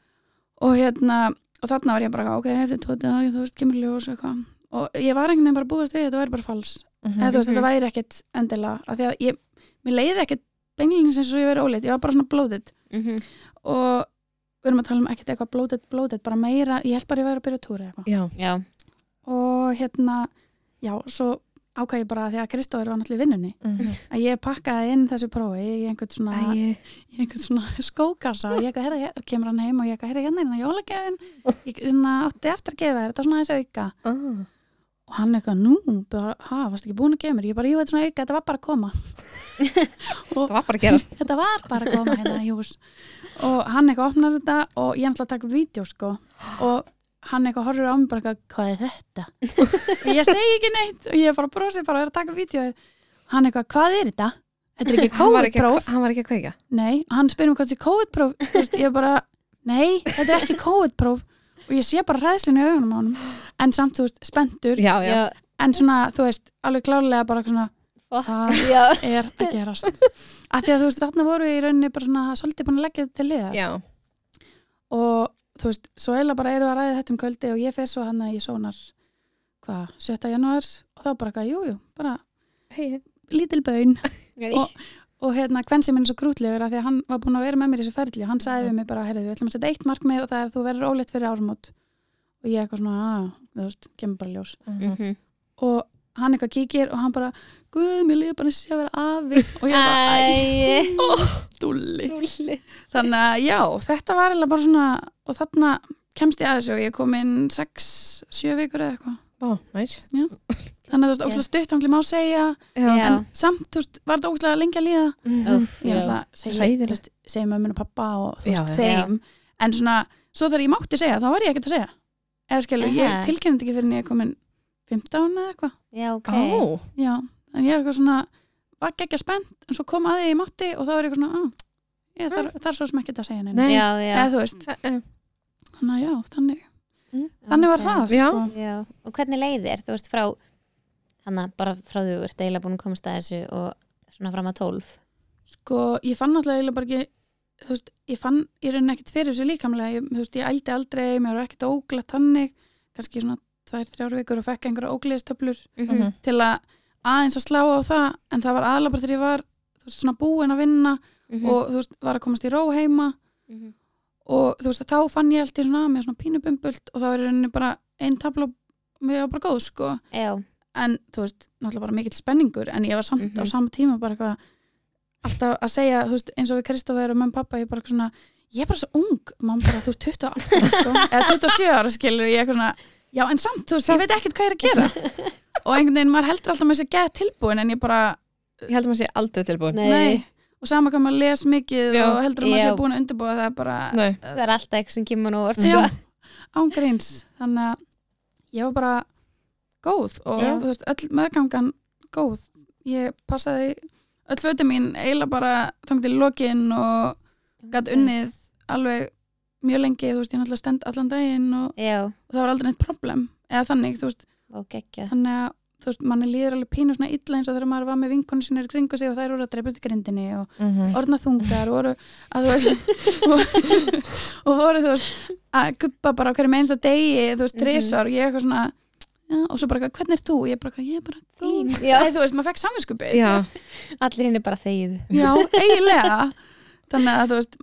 C: og hérna, og þarna var ég bara ok, eftir tóta, þú veist, kemur ljós og eitthvað og ég var einhvern veginn bara búast við, þetta væri bara fals eða þú veist, þetta væri ekkit endilega af því að ég, mér leiði ekkit beinlýnins eins og ég verið óleitt, ég var bara svona blóðið
A: mhm,
C: og við erum að tala um ekkit eitthvað blóðið, blóðið, bara meira ég held bara ég væri að byrja að túra eitthvað
B: Já,
A: já,
C: og hérna, já, svo ákvæði ég bara að því að Kristóður var náttúrulega í vinnunni að ég pakkaði inn þessu prófi í einhvern svona,
B: Æi.
C: í einhvern svona skókassa og ég ekki að herra, og kemur hann heim og ég ekki að herra hérna hérna jólagefin ég hérna, átti eftir að gefa þér, þetta er svona þessi auka
B: Ah.
C: og hann eitthvað nú, bara, ha, varst ekki búin að gefa mér ég bara, jú, þetta er svona auka, þetta var bara að koma
B: Það var bara að gerast
C: þetta var bara að koma hérna í hús og hann eitthvað opnar þetta og ég er náttúrulega að taka upp vídeo sko og hann eitthvað horfir á mig bara eitthvað hvað er þetta? og ég segi ekki neitt og ég bara brosið bara og er að taka upp vídeo hann eitthvað hvað er þetta? Þetta er ekki
B: Hann var ekki að-
C: COVID-próf
B: Hann var ekki að kveika
C: nei, og hann spyrir mig hvað þetta er COVID-próf Þú veist, ég bara, nei, þetta er ekki COVID-próf og ég sé bara ræðslinu í augunum á hann en samt, þú veist, spendur
B: Já, já,
A: já
C: en svona, þú veist, alveg klárlega bara svona,
A: Fuck.
C: það
A: já,
C: er að gerast af því að þú veist, þarna voru við í rauninni bara svona svolítið búin að leggja þetta til liða
B: já.
C: og þú veist, svo eiginlega bara erum við að ræða þetta um kvöldi og ég fer svo hann að ég sónar hvað, 7. janúar og þá bara eitthvað, jú, jú, bara
B: Hey.
C: lítil bön
A: og,
C: og hérna, hvern sem er svo krútlegur af því að hann var búin að vera með mér í þessu ferli hann sagði við mig bara, heyrðu, við ætlum að setja eitt markmið og það er að þú verður óleitt fyrir árumót og ég eitthvað svona, að, þú veist, kemur bara í ljós
A: mhm,
C: og hann eitthvað kíkir og hann bara, guð, mér líður bara að sé að vera afi og ég bara,
A: æi
C: æ, dúlli
A: Dúlli.
C: þannig að já, þetta var eiginlega bara svona og þarna kemst ég að þessu og ég kom inn 6-7 vikur eða eitthvað
B: Ó, næs
C: þannig að þú veist, ókslega stutt, hann má segja
A: Já.
C: en samt, þú veist, var þetta ókslega lengi að líða
B: Mhm.
A: Úff,
C: ég
A: já.
C: ætla að segja,
B: Hræðilegt.
C: þú veist, segja mömmun og pappa og þú
B: Já,
C: veist,
B: já.
C: þeim en svona, svo þegar ég mátti segja, þá var ég ekkert að segja eða skilur, ég
A: Aha.
C: tilkynnti ekki fyrir en ég kom inn 15 eða eitthvað
A: já, ok
B: Ó,
C: já, en ég eitthvað svona var ekki spennt, en svo kom að því ég mátti og þá var ég eitthvað svona, ah, ég, þar, þar svo sem ekki að segja neina,
B: Nei.
A: já, já,
C: eða þú veist
B: Eh, eh.
C: Þannig að já, þannig,
A: ok.
C: þannig var það
B: Já.
C: Sko.
A: já, og hvernig leiðir, þú veist, frá hanna, bara frá því þú ert eiginlega búin að komast að þessu og svona fram að tólf
C: sko, ég fann alltaf eiginlega bara ekki þú veist, ég fann, ég raun ekkert fyrir þessu líkamlega ég, þú veist, ég ældi aldrei, mér var ekkert óglætt þannig, kannski svona tvær, þrjár vikur og fekk einhverja óglæðistöflur
B: mm-hmm.
A: Mhm.
C: til að aðeins að slá á það en það var aðlega bara þegar ég var þú veist, svona búin að vinna
A: Mhm.
C: og þú veist, var að komast í ró heima
A: Mhm.
C: og þú veist, þá fann ég alltaf svona með svona pínubumbult og það var í rauninni bara einn tabla, mér var bara góð, sko
A: já,
C: en þú veist, náttúrulega bara mikill spenningur en ég var samt
A: Mhm.
C: á sama tíma bara eitthvað alltaf að segja, þú veist, eins og við Kristofer og mömmu og pappa, ég er bara eitthvað svona ég er bara svo ung, mamma bara, þú ert 28 ára, sko, eða 27 ára skilur ég er eitthvað svona, já en samt, þú veist, ég veit ekkert hvað ég er að gera og einhvern veginn, maður heldur alltaf með þessi geð tilbúin en ég bara,
B: Ég held að maður sé aldrei tilbúin
A: nei,
C: nei, og sama hvað maður les mikið
B: Já.
C: og heldur að maður
A: Já.
C: sé búin að undirbúa það er bara,
B: Nei.
A: það er alltaf eitthvað sem kemur nú orð
C: Já,
A: sko.
C: ángríns þannig að ég var bara góð og
A: Já.
C: þú veist, öll meðgangan góð ég passaði öll fötum mín eiginlega bara þangt í lokin og gætt unnið alveg mjög lengi þú veist, ég náttúrulega stend allan daginn og,
A: já,
C: og það var aldrei neitt problem eða þannig, þú veist,
A: ok, ekki
C: þannig að þú veist, manni líður alveg pínu svona illa eins og þegar maður var með vinkonu sinni í kringu sig og þær voru að dreipast í grindinni og
B: Mhm.
C: orðna þungar og voru að þú veist og, og voru þú veist að guppa bara á hverjum einsta degi þú veist,
A: Mhm.
C: þrisvar, ég eitthvað svona já, og svo bara, eitthvað, hvernig er þú? Ég bara, eitthvað, ég er bara
A: Fín.
C: góð.
A: Já.
C: Æ, þú veist, maður fekk samvinskupið
B: Já,
A: allir hinn er bara þegið
C: já, eiginlega þannig að þú veist,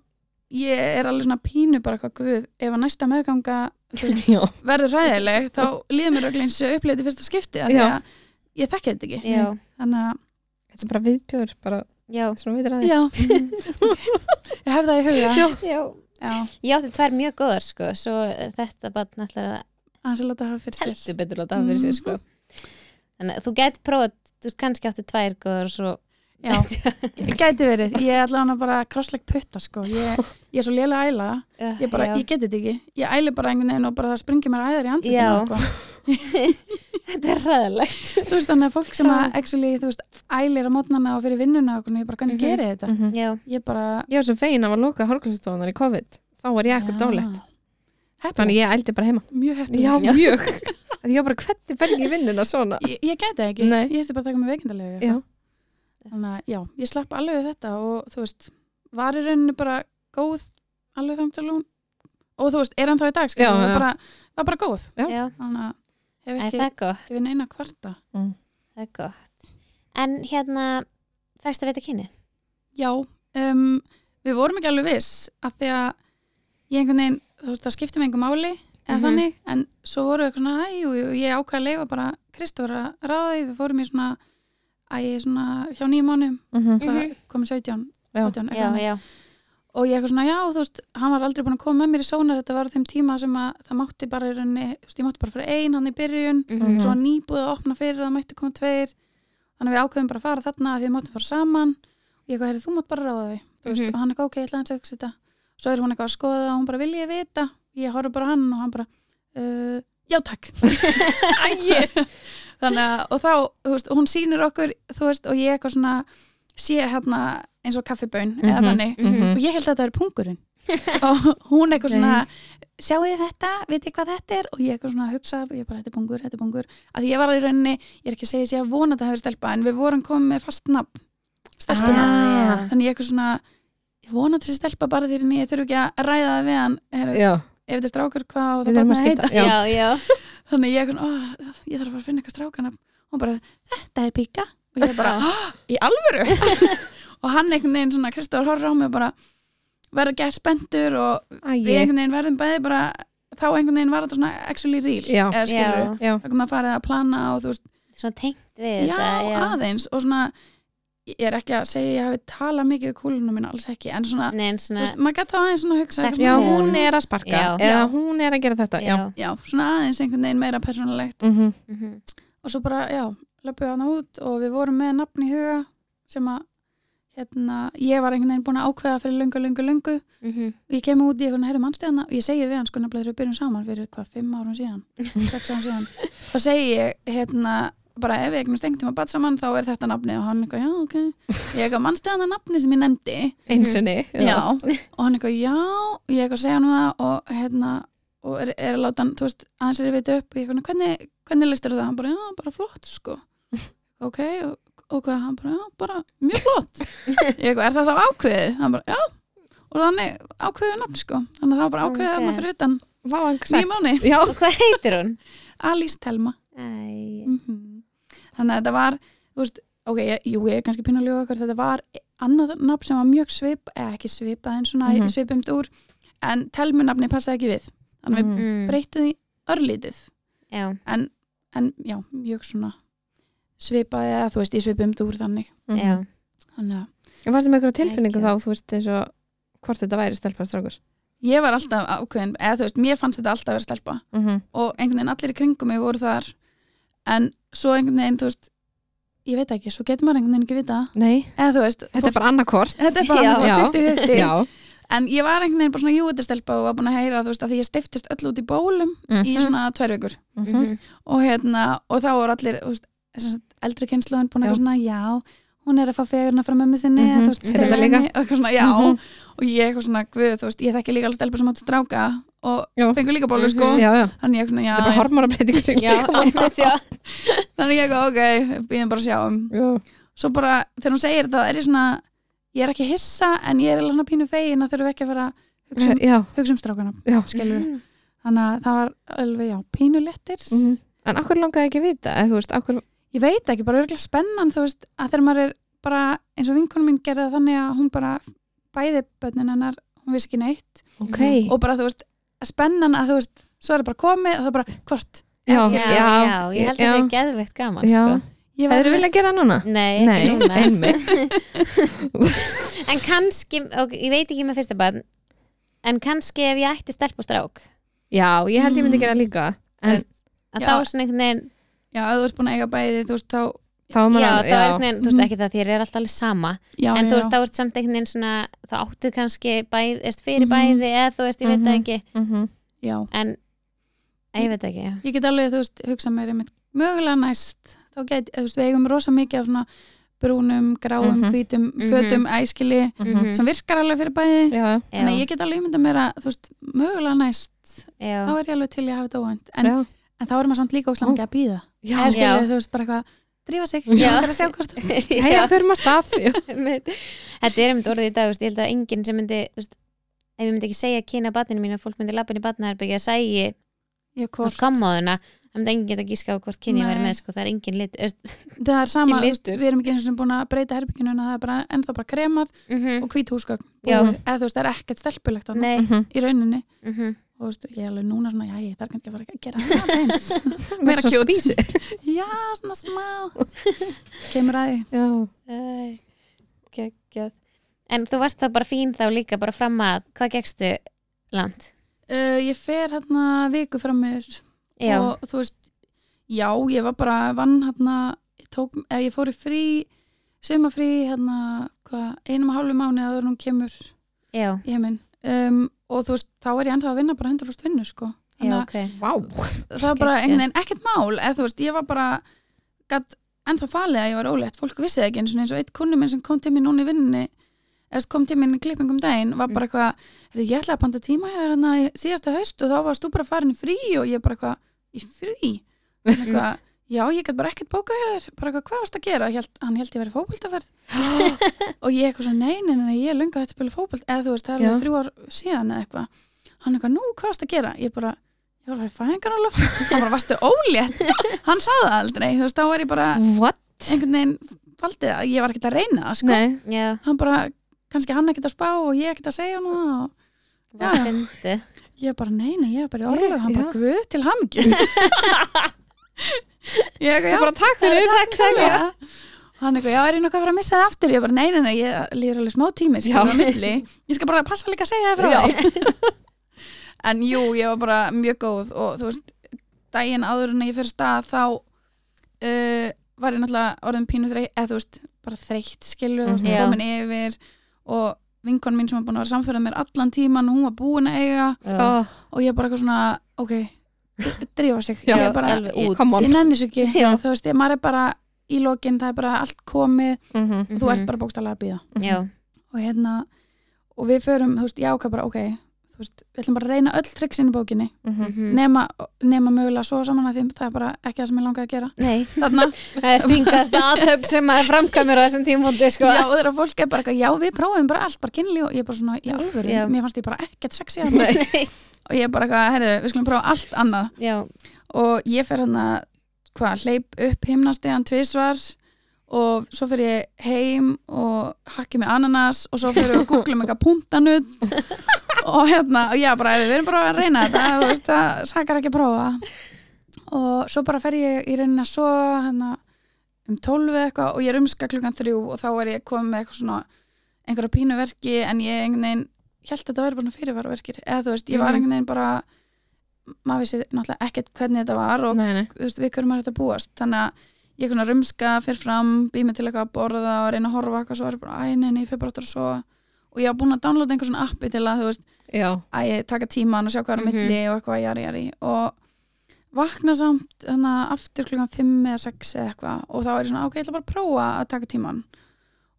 C: ég er alveg svona pínu bara eitthvað guð, ef að næsta meðganga
B: já,
C: verður ræðileg þá líður mér öll eins uppleiti fyrsta skipti af því
B: Já.
C: að ég þekki þetta ekki
A: já,
C: þannig að,
B: þetta er bara viðbjör bara
A: já,
B: svona vitur að
C: já ég hef það í huga
A: já
C: já,
A: Ég átti tvær mjög góðar sko svo þetta bara náttúrulega
C: aðeins að láta hafa fyrir sér
A: heldur betur láta af fyrir sér sko Þannig að eh, þú gæti prófað, þú veist kannski átti tvær góðar og svo
C: Já, gæti verið, ég ætla hana bara krossleik putta sko, ég, ég er svo lélega æla
A: uh,
C: ég bara,
A: já.
C: ég geti þetta ekki, ég æli bara einhvern veginn og bara það springi mér æðar í
A: Já.
C: andlutinu
A: Þetta er ræðilegt
C: þú veist þannig að fólk sem að actually, þú veist, ælir á mótnana og fyrir vinnuna og hvernig, ég bara, hvernig
A: Mhm.
C: geri ég þetta
B: Mhm.
A: Já,
C: ég bara,
B: Ég var svo fegin að var loka hálfkvæmstofunar í COVID þá var ég ekkert dálegt
C: heppilegt,
B: þannig ég ældi bara heima
C: mjög heppilegt
B: Já, mjög Af því Ég var bara hvernig fer ég í vinnuna svona
C: ég, ég gæti það ekki,
B: Nei.
C: ég ætti bara að taka mig veikindarlega
B: Já.
C: þannig að já, ég slapp alveg við þetta og þú veist, var í rauninu bara góð alveg þangt til hún og þú veist, er hann þá í dag skilur,
B: Já,
C: já,
B: já.
C: Bara, var bara góð
B: Já.
A: já,
C: þannig að
A: Æ,
C: hef ekki,
A: það er gott,
C: ekki við neina kvarta
B: Mm.
A: það er gott En hérna, fækst að veita kynni?
C: já, um, við vorum ekki alveg viss að því að ég einhvern veginn, þú veist, það skipti mig einhver máli eða
A: Mhm.
C: þannig, en svo voru við eitthvað svona æ, jú, jú, ég ákvað að leifa bara Kristóra ráði, við fórum í svona æ, svona hjá nýjum mánum
B: Mhm.
A: Mhm.
C: komið 17,
B: Já.
C: 18 eitthvað
A: Já,
C: þannig.
A: já,
C: og ég eitthvað svona, já, þú veist, hann var aldrei búin að koma með mér í sónar, þetta var á þeim tíma sem að það mátti bara, í rauninni, þú veist, ég mátti bara fyrir ein hann í byrjun,
A: Mhm.
C: svo hann nýbúið að opna fyrir það mætti koma tveir, þannig að við ákveðum bara að fara þarna af því við máttum fara saman og ég eitthvað, heyrðu, þú mátt bara ráða því, þú veist,
A: Mhm.
C: og hann eitthvað, ok, ég ætla hans að hugsa um þetta svo er hún eitthvað að skoða og hún bara, vil ég vita ég horf bara á hann og hann bara uh, já, takk Æi. þannig að, og þá, þú veist, hún sýnir okkur, þú veist, og ég eitthvað svona sé hérna eins og kaffibön eða
B: Mhm.
C: þannig,
B: Mhm.
C: og ég held að þetta er pungurinn og hún eitthvað svona sjáu þið þetta, veit þið hvað þetta er og ég eitthvað svona að hugsa, ég bara þetta er pungur, þetta er pungur að ég var í rauninni, ég er ekki að segja þess ég að vona að þetta hefur stelpa, en við vorum komið með fast nafn stelpuna,
A: Ah, já.
C: þannig ég eitthvað svona ég vona að þessi stelpa bara því að ég þurfi ekki að ræða það við hann heru,
B: Já,
C: ef þetta er strákur hvað og
B: við
C: það
B: þurfum
C: bara
B: að
C: að heita
B: skipta Já,
A: já, já.
C: þannig ég eitthvað, ó, ég þarf að fara að finna eitthvað strákana hún bara, þetta er píka og ég bara, "Ah, í alvöru og hann einhvern veginn svona, Kristóður horfir á mig og bara verður gett spendur og við
B: Æi.
C: einhvern veginn verðum bæði bara þá einhvern veginn var þetta svona actually real
B: Já.
C: eða skilur
A: Já.
B: Já.
C: þá kom að fara að plana og þú veist
A: Svona tengt við
C: já,
A: þetta Já,
C: aðeins og svona ég er ekki að segja ég hafi talað mikið við kúlunum mín alls ekki en svona,
A: Nei, en
C: þú
A: svona
C: veist, maður gæti þá aðeins svona hugsa
A: Sagt
B: Já,
C: já,
B: hún er að sparka
A: Já.
B: eða hún er að gera þetta Já,
C: já, svona aðeins einhvern veginn meira persónulegt
B: Mhm.
A: Mhm.
C: og svo bara, já, löpum hann út og við vorum með nafn í huga sem að hérna, ég var einhvern veginn búin að ákveða fyrir löngu, löngu, löngu
A: Mhm.
C: og ég kemur út í eitthvað herri mannstöðana og ég segi við hann sko nefnilega þegar við byrjum saman fyrir hvað, fimm árum síðan, sex árum síðan þá segi ég hérna bara ef við eignum stengtum að bat saman þá er þetta nafni og hann eitthvað já ok ég eitthvað mannstöðana nafni sem ég nefndi
B: einsinni
C: Mhm. já. og hann eitthvað já ég eitthvað segja hann það og hérna og er, er að láta hann, þú veist, aðeins er ég veit upp og ég eitthvað hvernig, hvernig listur það, hann bara já bara flott sko ok og, og hvað, hann bara já bara mjög flott ég eitthvað er það þá ákveðið hann bara já og þannig ákveðið nafn sko þannig að það var bara ákveðið
A: Ok.
C: þarna fyrir utan
B: Vá, hann
C: nýjum
B: sagt
C: mánu,
B: Já,
A: Og hvað heitir hún?
C: Alice Telma
A: Æ,
C: mm þannig að þetta var þú veist, ok, ég, jú, ég er kannski pínulega okkur þetta var annað nafn sem var mjög svip eða ekki svipað en svona mm
B: Mhm.
C: svipumt úr en telmunafni passaði ekki við þannig að við
B: Mhm.
A: mm.
C: breytum því örlítið
A: Já,
C: en, en já, mjög svona svipaði eða þú veist, ég svipumt úr þannig
B: Mhm.
A: já
C: þannig að
B: En varstu með eitthvað tilfinningu
A: Thank
B: þá,
A: you.
B: þú veist, eins og hvort þetta væri stelpa strákur
C: ég var alltaf ákveðin eða þú veist, mér fannst þetta alltaf að vera stelpa
B: Mhm.
C: og einhvern veginn allir í kringum mig voru þar en svo einhvern veginn, þú veist ég veit ekki, svo getur maður einhvern veginn ekki vita
B: Nei,
C: eða þú veist,
B: þetta er bara annarkort
C: Þetta er bara
A: Já.
C: annað hvort 50-50
B: Já,
C: En ég var einhvern veginn bara svona júutastelpa og var búin að heyra þú veist að því ég stiftist öll út í bólum í
B: Mhm.
C: svona tvær vikur
B: Mhm.
A: Mhm.
C: og hérna og þá voru allir þú veist, sem sagt, eldri kynsluðin búin
B: Já.
C: að svona já hún er að fá fegurna frá mömmu sinni
B: Mhm.
C: þú veist,
B: Er þetta
C: stela
B: líka?
C: henni og eitthvað svona já
B: Mhm.
C: og ég eitthvað svona guð þú veist ég þekki líka alveg stelpa sem áttu stráka og
B: Já.
C: fengur líka bólu
A: Mhm.
C: sko
B: já, já.
C: þannig ég eitthvað svona já,
B: Þetta er bara hormónabreytingur
A: Já, einmitt, já
C: þannig ég eitthvað ok býðum bara að sjá um
B: Já.
C: svo bara þegar hún segir þetta er ég svona ég er ekki hissa en ég er alveg svona pínu fegin að þurfum ekki að fara að hugsa um,
B: já,
C: hugsa um strákana
B: já.
C: skilur
A: Mhm.
C: þannig að það var alveg já, pínulettir
B: Mhm. En akkur langaði ekki að vita eða þú veist, akkur,
C: ég veit ekki, bara örgulega spennan þú veist, að þegar maður er bara eins og vinkonum mín gerði það þannig að hún bara bæði bönnin hennar, hún vissi ekki neitt
B: ok
C: og bara þú veist, að spennan að þú veist svo er það bara komið og það er bara hvort
B: já,
A: Já, já, ég held að það sé geðveikt gaman
B: Já.
A: sko.
C: ég var-
B: Hefur þú viljað gera það núna?
A: Nei,
B: Nei,
A: ekki núna
B: einmitt
A: En kannski, ok, ég veit ekki með fyrsta barn en kannski ef ég ætti stelp og strák
B: Já, ég held ég myndi
C: Mm.
B: gera líka En
A: Þú að
C: Já.
A: þá svona einhvern veginn
C: já, ef þú ert búin að eiga bæði þú veist þá já,
B: þá er maður
A: já, þá
B: alveg-
A: er einhvern veginn, þú veist
C: Mhm.
A: ekki það þér er alltaf alveg sama
C: já,
A: en þú
C: já.
A: veist, þá ert samt einhvern veginn svona þá áttu kannski bæð, veist, fyrir
C: Mhm.
A: bæði eða þú veist, ég veit það
B: Mhm.
A: ekki
B: Mhm.
C: já,
A: en, að, ég veit það ekki já.
C: ég get alveg, þú veist, hugsa mér einmitt mögulega næst, þá get, þú veist, við eigum rosa mikið af svona brúnum, gráum,
B: Mhm.
C: hvítum, fötum, æskili
B: Mhm.
C: sem virkar alveg fyrir bæði
B: Já,
C: þannig að ég get alveg ímynda mér að, þú veist, mögulega næst
A: já,
C: þá er ég alveg til ég að hafa þetta óvænt en,
B: já
C: en þá er maður samt líka óslega mikið að býða
B: Já,
A: En- Já.
C: Skilur, þú veist, bara eitthvað, drífa sig
A: Já.
C: það er að sjá hvort þú-
B: hei,
A: já.
B: það fyrir maður stað Já,
A: einmitt. þetta er einmitt orðið í dag þú veist, ég held að enginn sem myndi þú veist, ef ég myndi ekki segja kynna batninu mín að fólk myndi lappin í batnaherbyggja að segja
C: Ég hvort.
A: hvort kammaðuna það myndi enginn geta gíska á hvort kynja
C: Nei.
A: verið með sko, það er enginn lit mm
C: það er
A: Ekki
C: sama, þú veist,
A: litur.
C: við erum ekki eins og búin að breyta herbyggjunum það er bara ennþá bara kremað
A: -hmm.
C: og hvít húsgögn
A: Já.
C: búið, eða þú veist, það er ekkert stelpulegt þarna
A: nei
B: Mhm.
C: í rauninni
A: mm -hmm.
C: og þú veist, ég er alveg núna svona, já, ég þarf kannski að fara að gera það eins
B: Meira
C: Meira
B: svo
C: cute.
B: spísi
C: já, svona smá kemur að því
B: Já,
A: Kekjað. en þú varst þá bara fín þá líka bara fram að hvað gekkstu land
C: uh, ég fer hérna viku fram mér
A: já,
C: og þú veist, já, ég var bara vann hérna, ég tók, eða ég fór í frí sumafrí, hérna hvað, einum og hálfu mánu að hún kemur
A: já,
C: í heiminn um, og þú veist, þá er ég ennþá að vinna bara 100% vinnu, sko
A: já,
C: Þannig að
A: ok
B: vá
C: það var bara einhvern veginn ekkert mál eða þú veist, ég var bara gat, ennþá falið að ég var ólegt, fólk vissi það ekki eins og eins og eitt kunni minn sem kom til mér núna í vinninni eða kom til mér í klippingum um daginn var bara eitthvað, "Heyrðu, ég ætlaði að panta tíma hér hann að síðasta haust og þá varst þú bara farin í frí og ég bara eitthvað, í frí eitthvað, já, ég gæti bara ekkert bókað hér bara eitthvað, hvað varst að gera, held, hann held ég verið fókvöldaferð og ég eitthvað svo, nei, nei, nei, ég er löngu að þetta spila fókbalt eða þú veist, það er
B: Já.
C: alveg þrjú ár síðan eða eitthvað hann eitthvað, nú, hvað varst að gera? Ég bara, ég var að fara í fæðingar alveg hann bara, varstu ólétt? hann sagði það aldrei, þú veist, þá var ég bara
B: What?
C: einhvern veginn, faldið að ég var ekkert að reyna það, sko,
B: Nei,
A: já,
C: hann bara kannski hann ekkert að spá og ég ekkert að segja nú og
A: já.
C: Já.
A: fyndi
C: ég bara, nei, nei, ég er bara í orlu
B: Ég-
C: hann bara,
B: já.
C: guð til hamingju ég eitthvað, já,
B: bara takk fyrir
A: takk, takk já.
C: Og hann eitthvað, já, er ég nokkuð að fara að missa það aftur? Ég bara, nei, nei, nei, ég líður alveg smá tími,
B: Já.
C: skilur á milli. Ég skal bara passa líka að segja það frá því. en jú, ég var bara mjög góð og þú veist, daginn áður en ég fyrir stað þá uh, var ég náttúrulega orðin pínu þreytt, eða þú veist, bara þreytt, skilur, þú veist,
A: Mhm. Já.
C: komin yfir og vinkon mín sem var búin að vera samferða mér allan tíman, hún var búin að eiga
A: Já.
B: Ó,
C: og ég bara eitthvað svona, ok, drífa sig.
B: Já,
C: ég er bara,
A: alveg
C: ég,
A: út.
B: Come on
C: ég nenni svo ekki,
A: Já.
C: þú veist, ég, maður er bara í lokin, það er bara allt komið
B: Mhm.
C: og þú ert bara bókstallega að býða
A: já,
C: og hérna, og við förum þú veist, ég ákvað bara, ok, þú veist við ætlum bara að reyna öll triksin í bókinni
B: Mhm.
A: Mhm.
C: nema, nema mögulega svo saman að því það er bara ekki það sem ég langaði að gera
A: nei,
C: þarna,
A: það er þingast aðtöp sem maður framkvæmur á þessum tímúndi sko.
C: já, og þegar fólk er bara eitthvað, já, við prófum bara allt, bara kynli og ég er bara svona, í alvöru,
A: Já.
C: mér fannst ég bara ekkert sexy að það og ég er bara eitthvað, herðu, við skulum prófa allt annað
A: já,
C: og ég fer hérna hann að hvað, hleyp upp himnastegan tvisvar og svo fer ég heim og hakki með ananas og svo fer ég og googlum eitthvað puntanutt og hérna, og já bara við erum bara að reyna þetta, þú veist, það sakar ekki að prófa og svo bara fer ég í rauninni að sofa hérna, um 12 eða eitthvað og ég rumska klukkan þrjú og þá er ég komið með eitthvað svona einhverja pínuverki en ég einhvern veginn held að þetta væri bara fyrirvaraverkir eða þú veist, ég var
A: Mhm.
C: einhvern veginn bara maður vissi náttúrulega ekkert hvernig þetta var og
B: Nei, nei
C: þú veist, við hverjum maður þetta búast þannig að ég svona rumska, fer fram býð mig til eitthvað að borða og reyna að horfa eitthvað svo er ég bara, æ, nei, nei, ég fer bara aftur að sofa og ég var búin að downloada einhver svona appi til að þú veist,
B: Já,
C: æ, taka tíman og sjá hvað er á
A: Mhm.
C: milli og eitthvað, jari, jari og vakna samt þannig að aftur klukkan 5 eða 6 eða eitthvað og þá er ég svona, ok, ég ætla bara að prófa að taka tíman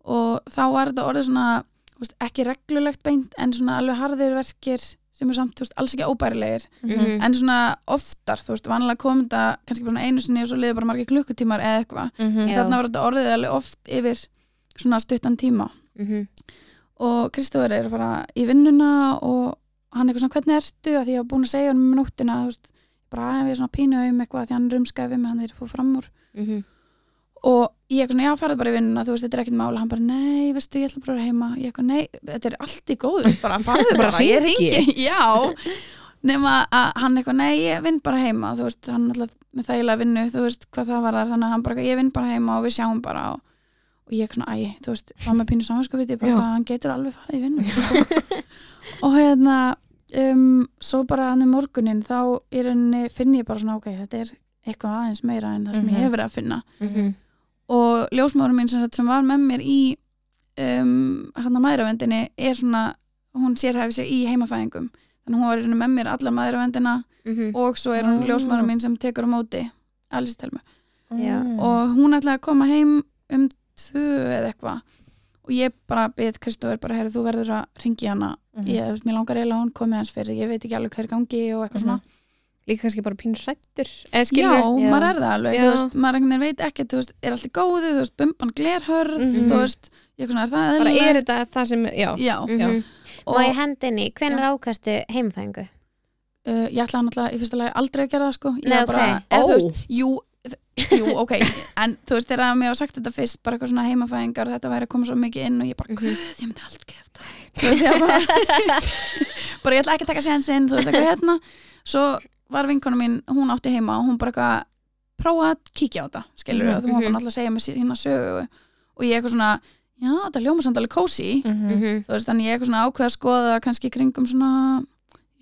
C: og þá var þetta orðið svona þú veist, ekki reglulegt beint en svona alveg harðir verkir sem er samt, þú veist, alls ekki óbærilegir
A: Mhm.
C: en svona oftar, þú veist, vanlega kom þetta kannski bara svona einu sinni og svo liði bara margir klukkutímar eða eitthvað,
A: Mhm. Já.
C: en Mm, þarna var þetta orðið alveg oft yfir svona stuttan tíma
A: Mhm.
C: og Kristóður er að fara í vinnuna og hann eitthvað svona, hvernig ertu að því ég var búin að segja hann um nóttina, þú veist bara að ég er svona pínu um eitthvað því hann rumskaði við mig hann þeir fór fram úr
A: Mhm.
C: og ég eitthvað svona, já, farið bara í vinnuna, þú veist, þetta er ekkert mála hann bara, nei, veistu, ég ætla bara að vera heima ég eitthvað, nei, þetta er allt í góðu bara farið bara,
B: Bara
C: ég
B: hringi.
C: ringi já, nema að hann eitthvað, nei, ég vinn bara heima, þú veist, hann alltaf með þægilega vinnu, þú veist, hvað það var þar þannig að hann bara, eitthvað, ég vinn bara heima og við sjáum bara og, og og ég svona, æ, þú veist, var með pínu samanskapið ég bara,
B: Já.
C: hvað, hann getur alveg farið í vinnu sko. og hérna um, svo bara hann um morgunin þá er henni, finn ég bara svona, ok þetta er eitthvað aðeins meira en það sem
B: Mhm.
C: ég hefur verið að finna
A: Mhm.
C: og ljósmáður mín sem, sagt sem var með mér í um, hann að maðuravendinni er svona, hún sérhæfi sig í heimafæðingum þannig hún var í rauninni með mér alla maðuravendina
A: Mhm.
C: og svo er hún
B: Ah.
C: ljósmáður mín sem tekur á móti Alice Telmu
A: Já.
B: Mm.
C: og hún ætlaði að koma heim um tvö eða eitthvað og ég bara byrð Kristóður bara heyrðu þú verður að ringi hana
B: Mhm.
C: ég, þú veist, mér langar eiginlega að hún komið hans fyrir ég veit ekki alveg hver gangi og
B: Mhm.
C: eitthvað svona
B: líka kannski bara pínur hrættur eða
C: já,
B: skilur
A: Já.
C: maður er það alveg,
B: Já.
C: þú veist, maður einhvern veginn veit ekkert þú veist, er allt í góðu, þú veist, bumban glerhörð
B: Mhm.
C: þú veist, ég svona, er það
B: bara
C: eðlilegt?
B: er þetta Mm. það sem já,
C: já,
B: Já.
A: Mhm.
C: og
A: Má ég hendinni, hvenær ákastu heimfængu?
C: uh, ég ætlaði náttúrulega í fyrsta lagi aldrei að gera það sko ég
A: Nei,
C: var bara,
A: ok.
C: eða, þú
B: Ó.
C: veist, jú þ- jú, ok, en þú veist þegar að mér var sagt þetta fyrst, bara eitthvað svona heimafæðingar þetta væri að koma svo mikið inn og ég bara,
B: Mhm.
C: guð, ég myndi aldrei gera þetta Þú veist, ég bara, bara ég ætla ekki að taka sénsinn, þú veist eitthvað hérna svo var vinkona mín, hún átti heima og hún bara eitthvað, prófa að kíkja á þetta skilur
B: Mhm,
C: mm, þú hún var
A: mhm.
C: náttúrulega að segja mér sí- hérna sögu og ég eitthvað svona, já, þetta ljóma samt alveg kósi
B: Mhm.
A: Mhm.
C: þú veist, þannig ég eitthvað svona ákveð að skoða kannski í kringum svona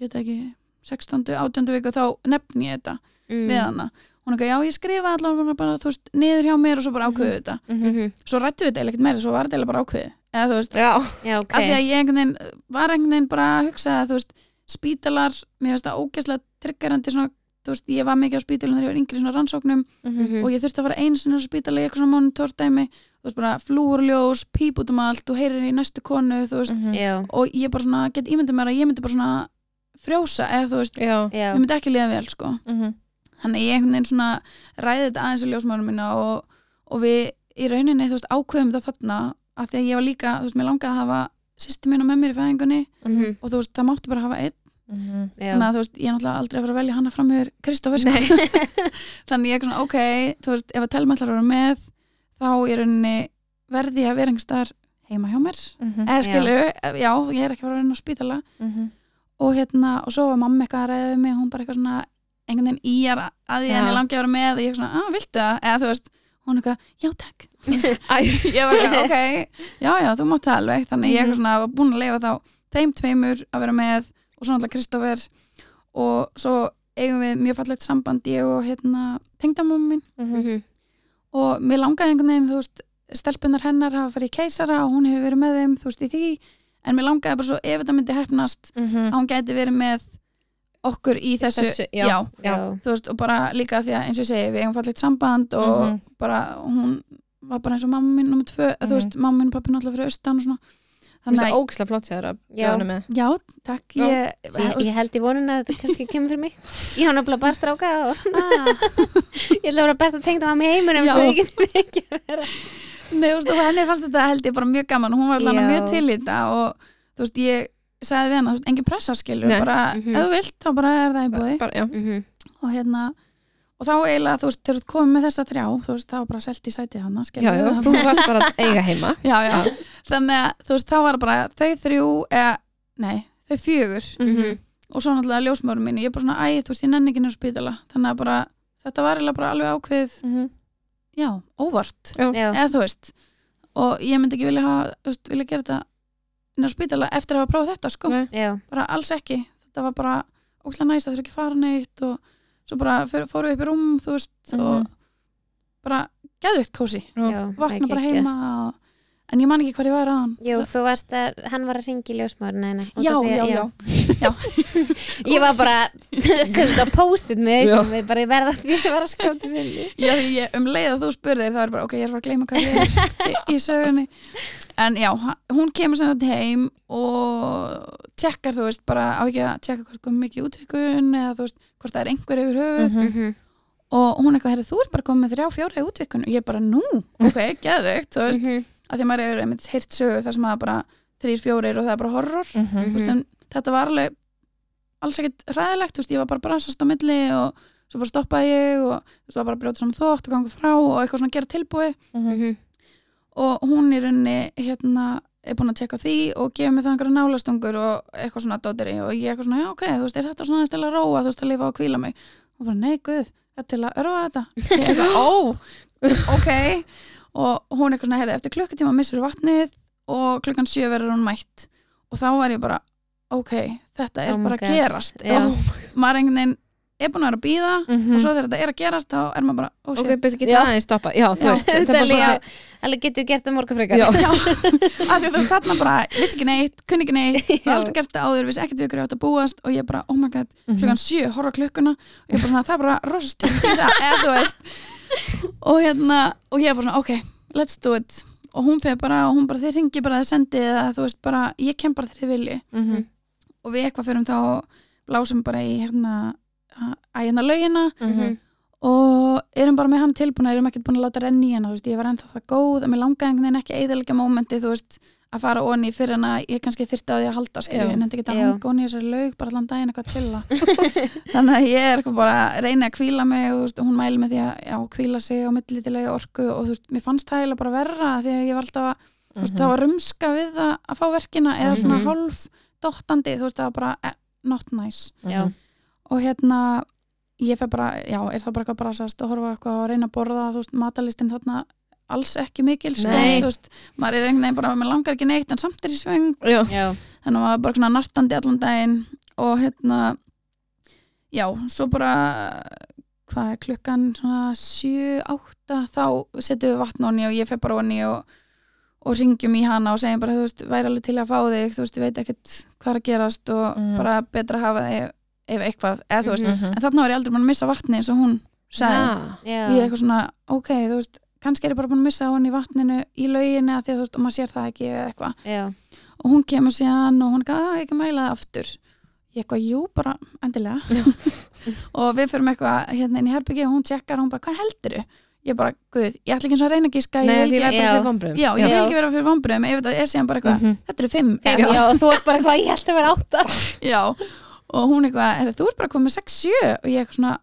C: ég veit ekki, 16. 18. viku þá nefni ég þetta
A: Mm.
C: við hana hún er ekki, já ég skrifa allavega bara, þú veist, niður hjá mér og svo bara ákveðu þetta
A: Mhm.
C: svo rættu við þetta eiginlega ekkert meira, svo var þetta eiginlega bara ákveði eða þú veist,
B: já,
A: Já, ok.
C: af því að ég einhvern veginn var einhvern veginn bara að hugsa að þú veist spítalar, mér finnst það ógæslega tryggarandi svona, þú veist, ég var mikið á spítalum þegar ég var yngri í svona rannsóknum
A: Mhm.
C: og ég þurfti að fara einu sinni á spítala í eitthvað svona monitordæmi, þú veist bara flúurljós, píp út um allt, þú heyrir í næstu konu, þú veist,
A: Mm.
B: Mhm.
A: Já,
C: og ég bara svona get ímyndið mér að ég myndi bara svona frjósa eða þú veist,
B: já
A: já.
C: ég myndi ekki liða vel sko
B: Mhm.
C: þannig að ég einhvern veginn svona ræði þetta aðeins í ljósmálum mína og, og við í rauninni þú veist ákveðum þetta þarna að því að ég var líka, þú veist, mér langaði að hafa sýstu mína með mér í fæðingunni
A: Mhm.
C: og þú veist, það mátti bara hafa einn
A: Já.
C: þannig að þú veist, ég er náttúrulega aldrei að fara að velja hana fram yfir Kristoffer sko. þannig ég er svona, ok, þú veist, ef að telma ætlar að vera með þá í rauninni verði ég að vera einhverstaðar heima hjá mér
A: Mm,
B: Mhm.
C: eða
A: Já.
C: skilur, já, ég er ekki að fara að vera inn á spítala og hérna, og svo var mamma eitthvað að ræða við mig, hún bara eitthvað svona einhvern veginn í að að ég
B: Já.
C: henni langi að vera með og ég svona, að, viltu það? Eða þú veist, hún eitthvað, já takk
A: Mhm,
B: Æ.
C: ég var eitthvað, ok, já, já, þú mátt það alveg þannig
B: Mhm.
C: ég eitthvað svona var búin að leifa þá þeim tveimur að vera með og svo náttúrulega Kristoffer og svo eigum við mjög fallegt samband ég og hérna, tengdamamma mín
A: Mhm.
C: og mér langaði einhvern veginn, þú veist, stelpunar hennar hafa farið í keisara og hún hefur verið með þeim, þú veist, í því en mér langaði bara svo ef þetta myndi hefnast að hún gæti verið með okkur í þessu,
B: Mhm. þessu, já.
A: Já.
C: þú veist, og bara líka því að eins og ég segi, við eigum fallið samband og
B: Mhm.
C: bara hún var bara eins og mamma mín nummer tvö, þú veist,
B: Mhm.
C: mamma mín og pappi náttúrulega fyrir austan og svona
B: Mér
C: þannig
B: finnst
C: að,
B: það ógislega flott sér að
A: Já.
B: bjóna með
C: já, takk
B: Já.
C: ég,
A: Svo Ég, ég held í vonun að þetta kannski kemur fyrir mig Ég hann nefnilega bara stráka og ég ætla að vera best að tengda maður með heiminum
C: Ah. Já.
A: svo ég getur ekki að vera
C: Nei, þú veist, og henni fannst þetta held ég bara mjög gaman og hún var allan
A: Já.
C: mjög til í þetta og þú veist, ég sagði við hana, þú veist, engin pressa skilur,
B: Nei.
C: bara,
A: Mhm.
C: ef þú vilt, þá bara er það í búði
B: bara, já.
A: Mhm.
C: og hérna, og þá eiginlega, þú veist, þegar þú ert komin með þessa þrjá, þú veist, þá var bara selt í sætið hana, skilur,
B: Já, já, þú varst bara að eiga heima
C: já, já. þannig að þú veist, þá var bara þau þrjú eða, nei, þau fjögur
A: Mhm.
C: og svo náttúrulega ljósmörnum mínu, ég bara svona, æ, þú veist, ég nenni ekki nefnir spítala, þannig að bara, þetta var eiginlega bara alveg ákveð, já, óvart
A: Já.
C: eða þú veist, og ég myndi ekki vilja hafa, þú veist, vilja gera þetta nefnir spítala eftir að hafa prófað þetta, sko
B: Nei.
A: Já.
C: bara alls ekki, þetta var bara ókslega næst, það þurfa ekki að fara neitt og svo bara fyr, fóru upp í rúm, þú veist og bara geðvikt kósi,
A: Já.
C: vakna bara
A: Ekki,
C: heima og, en ég man ekki hvað ég var að hann
A: Jú, þú varst að, hann var að ringi ljósmárna hennar
C: já, já, já,
A: Ég var bara að setja post-it með
B: Já.
A: þessum við bara ég verða því að vera að skjóta sinni
C: Já, því ég, um leið að þú spurðir þá er bara, ok, ég er bara að gleyma hvað ég er í- í sögunni en já, ha- hún kemur sem þetta heim og tjekkar, þú veist, bara á ekki að tjekka hvort komið mikið útvikun eða þú veist, hvort það er einhver yfir höfuð
A: Mhm.
C: og hún eitthvað, herri, þú ert bara komið með þrjá, fjóra í útvikun og ég bara, nú, ok, geðugt þú veist,
A: Mhm.
C: að því að maður hefur einmitt heyrt sögur þar sem maður bara þrýr, fjórir og það er bara horror
B: Mhm.
C: þú veist, en þetta var alveg alls ekkert hræðilegt, þú veist, ég var bara að bransast á milli og svo bara stoppaði ég og þú veist, var bara að brjóta saman þótt og ganga frá og eitthvað svona að gera tilbúið
A: Mhm.
C: og hún í rauninni, hérna, er búin að tjekka því og gefa mig það einhverja nálastungur og eitthvað svona dótteri og ég eitthvað svona, já, ok, þú veist, er þetta svona aðeins til að róa, þú veist, að lifa og kvíla mig og bara, nei, guð, þetta er til að örfa þetta ég eitthvað, ó, ok og hún eitthvað svona, heyrði, eftir klukkutíma missur vatnið og klukkan sjö verður hún mætt og þá var ég bara, ok þetta er
A: Oh my
C: bara
A: God.
C: að gerast
A: Já.
C: og maður einhvern veginn er búin að vera að býða
A: Mhm.
C: og svo þegar þetta er að gerast þá er maður bara, oh
B: Ok,
C: shit
B: betur getur
A: Já.
B: aðeins stoppa Já, þú
C: Já.
B: veist, þetta er
A: Þetta
B: bara
A: líka,
B: svolítið
A: alveg getur gert það morgun frekar
B: Já,
C: Já, af því að þú veist þarna bara, vissi ekki neitt, kunni ekki neitt, það er aldrei gert það áður, vissi ekkert við hverju átt að búast og ég bara, oh my god,
B: Mhm.
C: klukkan sjö, horfa á klukkuna og ég bara svona, það er bara rostu það, eða þú veist og hérna, og ég bara svona, ok, let's do it og hún fegur bara, og hún bara, þið ringi bara, þið sendið það, þú veist bara, ég kem bara þegar þið vilji
A: Mhm.
C: og við eitthvað fyrir um þá og lásum bara í hérna, að hérna laugina
A: Mhm.
C: og erum bara með hann tilbúna erum ekkert búin að láta renni í hana, þú veist, ég var ennþá það góð að mér langaði einhvern veginn ekki að eðalega mómenti þú veist, að fara onni fyrir hana ég kannski þyrfti á því að halda, skilju,
B: Já.
C: en þetta geta
A: Já.
C: hanga onni í þessari laug, bara allan daginn eitthvað að chilla þannig að ég er eitthvað bara að reyna að kvíla mig, og, þú veist, og hún mæli með því að já, kvíla sig á millitilega orku og þú veist, mér fannst það eiginlega bara verra af því að ég var alltaf að, þú veist, það var rumska við það að fá verkina eða svona
A: Mhm.
C: hálf dottandi, þú veist, það var bara eh, not nice
B: Mhm.
A: Já.
C: og hérna ég fer bara, já, er það bara eitthvað að brasast og horfa á eitthvað og reyna að borða, þú veist, matalistin þarna alls ekki mikil, sko,
A: Nei.
C: þú veist maður er einhvern veginn bara, mér langar ekki neitt en samt er í svöng,
B: Já,
A: Já.
C: þannig að maður er bara svona nartandi allan daginn og hérna já, svo bara hvað er klukkan svona 7, 8, þá setjum við vatn onni og ég fer bara onni og, og ringjum í hana og segjum bara, þú veist, væri alveg til að fá þig þú veist, ég veit ekkert hvað er að gerast og
B: Mhm.
C: bara betra að hafa þig ef eitthvað, eða þú veist,
A: Mm. Mhm.
C: en þarna var ég aldrei búin að missa vatni eins og hún sagði
B: Já.
A: Já.
C: ég er eitthvað svona, ok, þú veist kannski er ég bara búin að missa hún í vatninu í lauginu að því að þú veist, og maður sér það ekki eða eitthvað
A: Já.
C: og hún kemur síðan og hún gaf ekki að mæla það aftur ég eitthvað, jú, bara endilega og við förum eitthvað hérna inn í herbyggi og hún tjekkar og hún bara, hvað heldur ég bara, guð, ég ætla ekki eins og að reyna að gíska
B: Nei,
C: ég vil
B: því
A: Já.
B: verður
C: ekki,
B: bara fyrir vombröðum
C: já, ég vil
A: Já. Mhm.
C: ekki vera fyrir vombriðum ef þetta er síðan bara eitthvað, þetta eru fimm
A: Já.
C: eða-
A: Já, og þú varst bara hvað, ég held að vera átta
C: já, og hún eitthvað, er, þú ert bara komið 6-7 og ég eitthvað svona,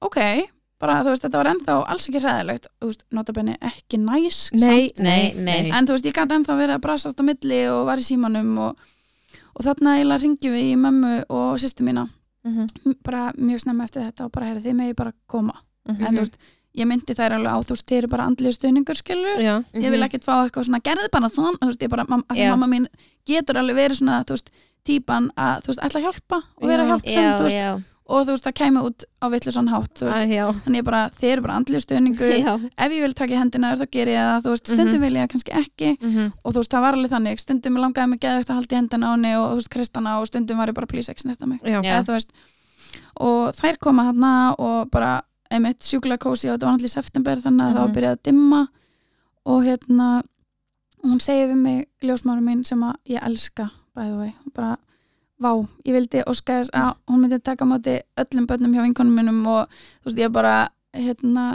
C: ok bara, þú veist, þetta var ennþá alls ekki ræðilegt þú veist, notabenni ekki næs
B: Nei,
A: Nei, nei.
C: en þú veist, ég gæti ennþá verið að brasast á milli og var í símanum og, og þarna eiginlega ringjum við í mömmu og sýstu mína,
B: Mhm.
C: M- bara mjög snemma eftir þetta og bara, heyrðu, þið megi bara koma
B: Mhm.
C: en þú veist, ég myndi þær alveg á þú veist, þið eru bara andlið stuðningur skilu
B: Já,
C: ég vil ekkert fá eitthvað svona, gerðu bara svona þú veist, ég bara, mam, að því
A: Mhm. Já.
C: mamma mín getur alveg verið svona, þú veist, típan að þú veist, ætla að hjálpa og vera
B: Já.
C: hjálpsum
A: Já,
C: þú veist,
A: já, Ah.
C: og þú veist, það kæmi út á villu svona hátt, þú
B: Æ,
C: veist,
B: já.
C: þannig ég bara, þið eru bara andlið stuðningur,
A: já Mhm.
C: ef ég vil taka í hendina þá ger ég það, þú veist, stundum vil ég það kannski ekki og þú veist, það var alveg þannig, stundum langaði mig geðvægt að halda í hendana á henni og þú veist, kristana og stundum var ég bara please ekki snerta mig
B: Já.
A: Já.
C: eða þú veist, og þær koma hann og bara, einmitt sjúkla kósi og þetta var náttúrulega í september þannig að það
B: Mhm.
C: var byrjað að dimma og hérna hún segir við mig, ljósmárum mín sem að ég elska, by the way og bara, vá, ég vildi óska þess að hún myndi taka á móti öllum börnum hjá vinkonum minnum og þú veist, ég bara hérna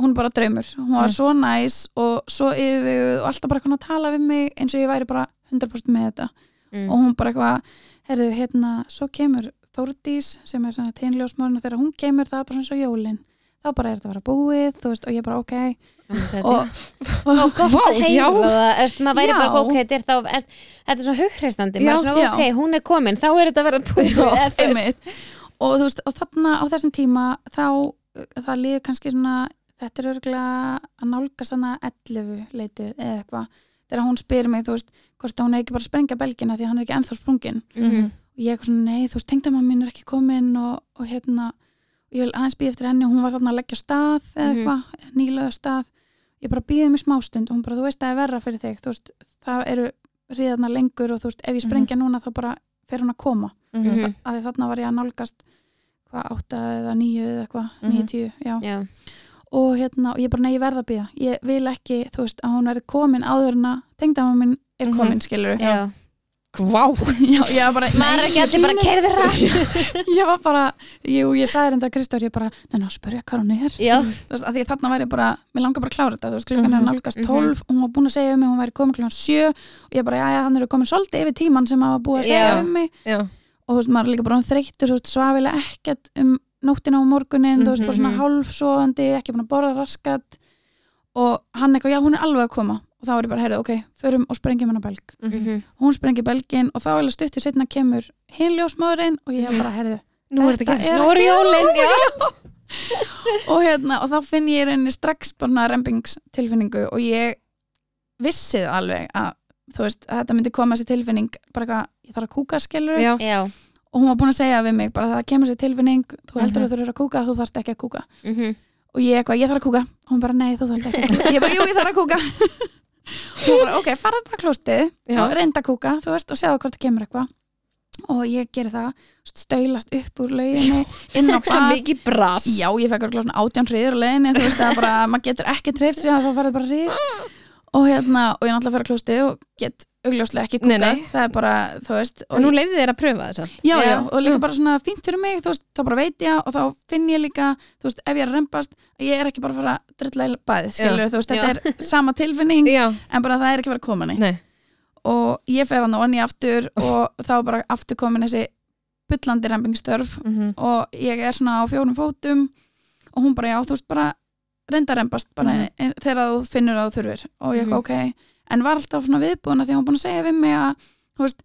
C: hún er bara draumur, hún var
B: Mm.
C: svo næs og svo yfirveguð og alltaf bara konar að tala við mig eins og ég væri bara 100% með þetta
A: Mm.
C: og hún bara eitthvað, herðu, hérna svo kemur Þórdís sem er svona teinljósmórn og þegar hún kemur það er bara svona svo jólin þá bara er þetta að vera búið, þú veist, og ég bara ok
A: og
C: og, og
A: gott
B: Vá,
A: að heyra
B: já.
A: það erst, maður væri
C: Já.
A: bara ok, þetta er þá er, þetta er svona hughristandi,
B: Já,
A: maður er svona
C: já.
A: ok, hún er komin þá er þetta að vera búið eða þú veist.
C: einmitt og þú veist, og þarna á þessum tíma þá, uh, það líður kannski svona þetta er örgulega að nálgast þarna 11 leitið eða eitthvað þegar hún spyr mig, þú veist, hvort að hún er ekki bara að sprengja belgina því að hann er ekki ennþá sprungin
A: Mhm.
C: og ég eitthvað svona, nei, þú veist, tengdamann mín er ekki komin og, og hérna og ég vil aðeins býja eftir henni, hún var þarna að leggja af stað eða
A: Mhm.
C: eitthvað, nýlega af stað ég bara býði mig smástund og hún bara, þú veist, það er verra fyrir þig, þú veist, það eru ríðarna lengur og þú veist, ef ég sprengja núna þá bara fer hún að koma
A: Mhm.
C: að því þarna var ég að nálgast hvað átta eða níu eða eitthvað,
B: Mhm.
C: níu tíu, já
A: já,
C: og hérna, og ég bara, nei, ég verða að býða ég vil ekki, þú veist, að hún er komin áður en að tengdama minn er
B: Mhm.
C: komin, skilur
A: já
B: Kvá
C: já, ég var bara,
A: maður er
C: nei,
A: ekki allir bara kerði rætt
C: ég var bara jú, ég sagði reynda að Kristór, ég bara neina, spurja hvað hún er,
A: já,
C: þú veist, að því þarna væri bara mér langar bara að klára þetta, þú veist, klukkan er
B: Mhm.
C: nálgast
A: Mhm.
C: 12 og hún var búin að segja um mig, hún væri komin klukkan 7 og ég bara, já, já, hann eru komin svolítið yfir tíman sem hann var búið að segja
A: Já.
C: um mig
B: Já,
C: og þú veist, maður er líka bara um þreyttur, þú veist, svafilega ekkert um nóttina og morgunin, þú veist, bara svona
A: Mhm.
C: hálfsofandi, ekki búin að borða raskat og hann eitthvað, já, hún er alveg að koma og þá er ég bara, heyrðu, ok, förum og sprengjum hennar belg.
A: Mhm.
C: Hún sprengir belgin og þá er stuttur setna kemur hinljósmaðurinn og ég bara, heyrðu,
B: nú er þetta
C: Þetta
B: gerst
C: er-
A: nú eru jólin já.
C: og hérna, og þá finn ég í rauninni strax bara rempingstilfinningu og ég vissið alveg að þú veist, að þetta myndi koma sér tilfinning bara eitthvað, ég þarf að kúka skilur
B: Já,
A: já,
C: og hún var búin að segja við mig bara það kemur sér tilfinning, þú
B: Mhm.
C: heldur að þú þurfir að kúka þú þarft ekki að kúka
A: mm
C: og ég eitthvað, ég þarf að kúka, og hún bara nei, þú þarft ekki að kúka ég bara, jú, ég þarf að kúka og hún bara, ok, farðu bara klóstið
B: Já.
C: og reynda að kúka, þú veist, og sjáðu hvort það kemur eitthvað og ég geri það, stöylast upp úr lauginni, inn á
B: ókslega
C: hvað
B: mikið bras
C: Já, ég fekk örgulega svona átján hriður á leiðinni, þú veist það er bara, maður getur ekki treyft sér að það farið bara hrið og hérna, og ég náttúrulega fer að klóstið og get augljóslega ekki
B: Nei,
C: kúkað,
B: nei.
C: það er bara, þú veist og,
B: En hún leiði þér að pröfa þess að
C: já, já,
A: já.
C: og
B: Mm.
C: líka bara svona fínt fyrir mig, þú veist, þá bara veit ég og þá finn ég líka, þú veist, ef ég er að rempast að ég er ekki bara að fara að drilla í bæðið, skilur þú veist, þetta er sama tilfinning
B: Já,
C: en bara það er ekki að vera komin í
B: nei
C: og ég fer hann og onni aftur og þá er bara aftur komin þessi bullandi rempingstörf
B: mm -hmm.
C: og ég er svona á fjórum fótum og hún bara já, þú veist bara reynda að rembast bara
B: Mhm.
C: mm. þegar þú finnur að þú þurfir og ég
B: Mhm.
C: eitthvað ok en var alltaf svona viðbúin að því að hún búin að segja við mig að þú veist,